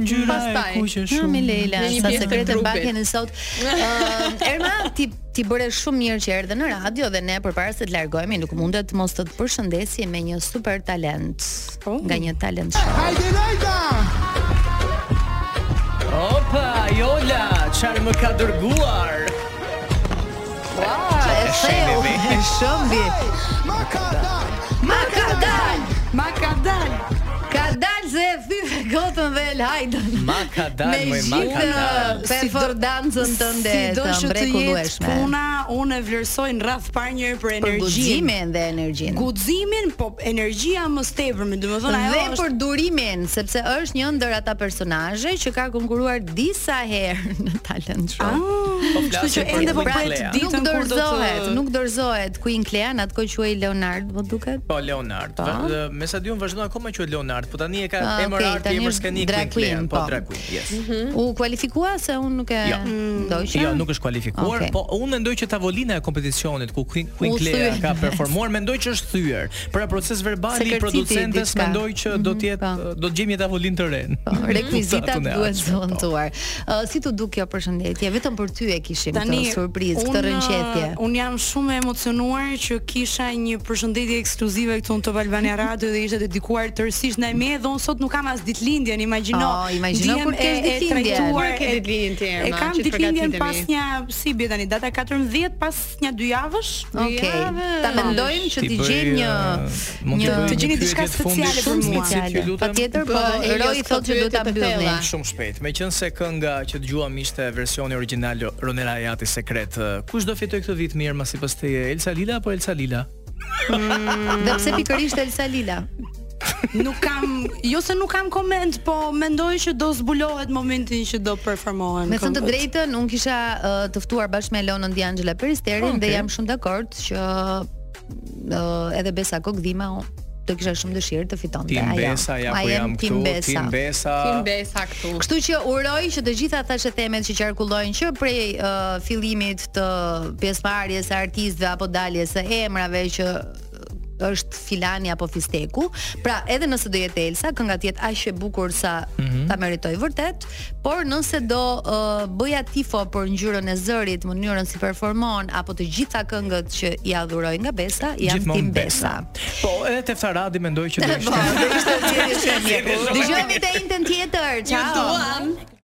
Speaker 4: Ngjyra e
Speaker 5: pastaj.
Speaker 4: kuqe shumë. Në, mi Leila,
Speaker 5: Në një
Speaker 4: sa
Speaker 5: pjesë të
Speaker 4: sekrete
Speaker 5: trupit.
Speaker 4: mbajnë sot. Ë, Erma, ti ti bëre shumë mirë që erdhe në radio dhe ne përpara se të largohemi nuk mundet të mos të të përshëndesim me një super talent.
Speaker 9: Oh.
Speaker 4: Nga një talent show.
Speaker 1: Hajde Lajda!
Speaker 6: Opa, Jola, çfarë më ka dërguar?
Speaker 4: Ua, e theu, e shëmbi.
Speaker 1: Ma ka dal,
Speaker 4: Ma ka dal,
Speaker 9: ma ka dal.
Speaker 4: Ka dal se e thyve gotën dhe el hajdën.
Speaker 6: Ma ka dal, moj, ma ka dal.
Speaker 4: performancën tënde
Speaker 9: sido që
Speaker 4: të
Speaker 9: të jetë
Speaker 4: mrekullueshme.
Speaker 9: puna, unë e vlerësoj në radh parë një herë për
Speaker 4: Për
Speaker 9: energjinë.
Speaker 4: guximin dhe energjinë.
Speaker 9: Guximin, po energjia më së tepërmi, domethënë ajo
Speaker 4: dhe
Speaker 9: është
Speaker 4: për durimin, sepse është një ndër ata personazhe që ka konkuruar disa herë në talent show. Pra,
Speaker 9: Po kështu flasim që për ende po Queen pret Clea. ditën
Speaker 4: nuk
Speaker 9: kur do të-
Speaker 4: dorëzohet, nuk dorëzohet Queen Clea, në atë kohë quhej Leonard, më duket.
Speaker 6: Po Leonard.
Speaker 4: Po.
Speaker 6: Va- dhe Me sa diun vazhdon akoma quhet Leonard, po tani e ka
Speaker 4: Ah,
Speaker 6: emër
Speaker 4: okay,
Speaker 6: arti,
Speaker 4: tani
Speaker 6: emër
Speaker 4: është
Speaker 6: skeni
Speaker 4: drag
Speaker 6: Queen Clean,
Speaker 4: queen,
Speaker 6: po
Speaker 4: po.
Speaker 6: drag queen, yes.
Speaker 9: Hmm.
Speaker 4: U kualifikua se unë nuk e
Speaker 6: Jo.
Speaker 4: ndoqja.
Speaker 6: Jo, nuk është kualifikuar,
Speaker 4: Okej.
Speaker 6: po unë mendoj që tavolina e kompeticionit ku Queen, Queen
Speaker 4: U
Speaker 6: Clea
Speaker 4: thyer.
Speaker 6: ka performuar, mendoj që është thyer. Pra proces
Speaker 4: Se
Speaker 6: verbal i
Speaker 4: kërciti
Speaker 6: producentes
Speaker 4: diçka. Mhm,
Speaker 6: mendoj që do të jetë do të gjejmë një tavolinë të re.
Speaker 4: Rekvizitat
Speaker 6: Kuptatun e
Speaker 4: Hmm. duhet
Speaker 6: aqshme, po.
Speaker 4: zontuar. Ë, si t'u duk kjo përshëndetje? Vetëm për ty e kishim
Speaker 9: Tani,
Speaker 4: këtë surprizë,
Speaker 9: unë- uh,
Speaker 4: këtë rënqetje.
Speaker 9: Unë jam shumë e emocionuar që kisha një përshëndetje ekskluzive këtu në Top Albania Radio dhe ishte dedikuar tërësisht ndaj me dhe unë sot nuk kam as ditëlindjen, imagjino.
Speaker 4: Oh, imagjino
Speaker 9: Ndihem
Speaker 4: kur kesh
Speaker 9: e- e
Speaker 4: ditëlindjen.
Speaker 9: trajtuar,
Speaker 4: Kur ke
Speaker 9: e-
Speaker 4: ditëlindjen ti, Erma,
Speaker 9: E kam
Speaker 4: që të
Speaker 9: ditëlindjen
Speaker 4: përgatitemi?
Speaker 9: pas një si bie tani data 14 pas një dy javësh. Dy
Speaker 4: Okej.
Speaker 9: javë.
Speaker 4: Ta mendojmë që
Speaker 6: Ti
Speaker 4: t'i
Speaker 6: bëj,
Speaker 4: gjejmë një
Speaker 6: uh, mund t'i
Speaker 4: një
Speaker 6: bëj
Speaker 9: të gjeni
Speaker 6: një
Speaker 9: diçka
Speaker 6: pyetje të fundit
Speaker 9: speciale për
Speaker 6: shumë
Speaker 9: mua.
Speaker 6: specifike, ju lutem.
Speaker 4: Patjetër, po Roi thotë që duhet ta mbyllni.
Speaker 6: Shumë shpejt. Meqense kënga që dëgjuam ishte versioni origjinal Ronela Ajati Sekret, eh, kush do fitoj këtë vit mirë mas sipas teje, Elsa Lila apo Elsa Lila?
Speaker 4: Dhe pse pikërisht Elsa Lila?
Speaker 9: Nuk kam, jo se nuk kam koment, po mendoj që do zbulohet momentin që do performohen.
Speaker 4: Me thënë të
Speaker 9: këngët.
Speaker 4: drejtën, unë kisha uh, të ftuar bashkë me Elonën Diangela Peristerin
Speaker 9: Okej.
Speaker 4: dhe jam shumë dakord që uh, edhe Besa Kokdhima unë do kisha shumë dëshirë të fitonte
Speaker 6: Tim
Speaker 4: ajo.
Speaker 6: Besa, ja
Speaker 4: A
Speaker 6: ku jam
Speaker 4: Tim
Speaker 6: këtu,
Speaker 4: Besa.
Speaker 6: Tim Besa. Tim
Speaker 5: Besa këtu.
Speaker 4: Kështu që uroj që të gjitha ata që themet që qarkullojnë që prej uh, fillimit të pjesëmarrjes së artistëve apo daljes së emrave që uh, është Filani apo Fisteku. Pra, edhe nëse do jetë Elsa, kënga të jetë aq e bukur sa ta meritoj vërtet, por nëse do uh, bëja tifo për ngjyrën e zërit, mënyrën si performon apo të gjitha këngët që i adhuroj nga Besa, jam
Speaker 6: Gjithmonë
Speaker 4: Tim Besa.
Speaker 6: Po, edhe Teftaradi mendoj që do
Speaker 4: Po,
Speaker 6: ishte.
Speaker 4: do ishte mirë. Dëgjojmë te intën tjetër. Ciao.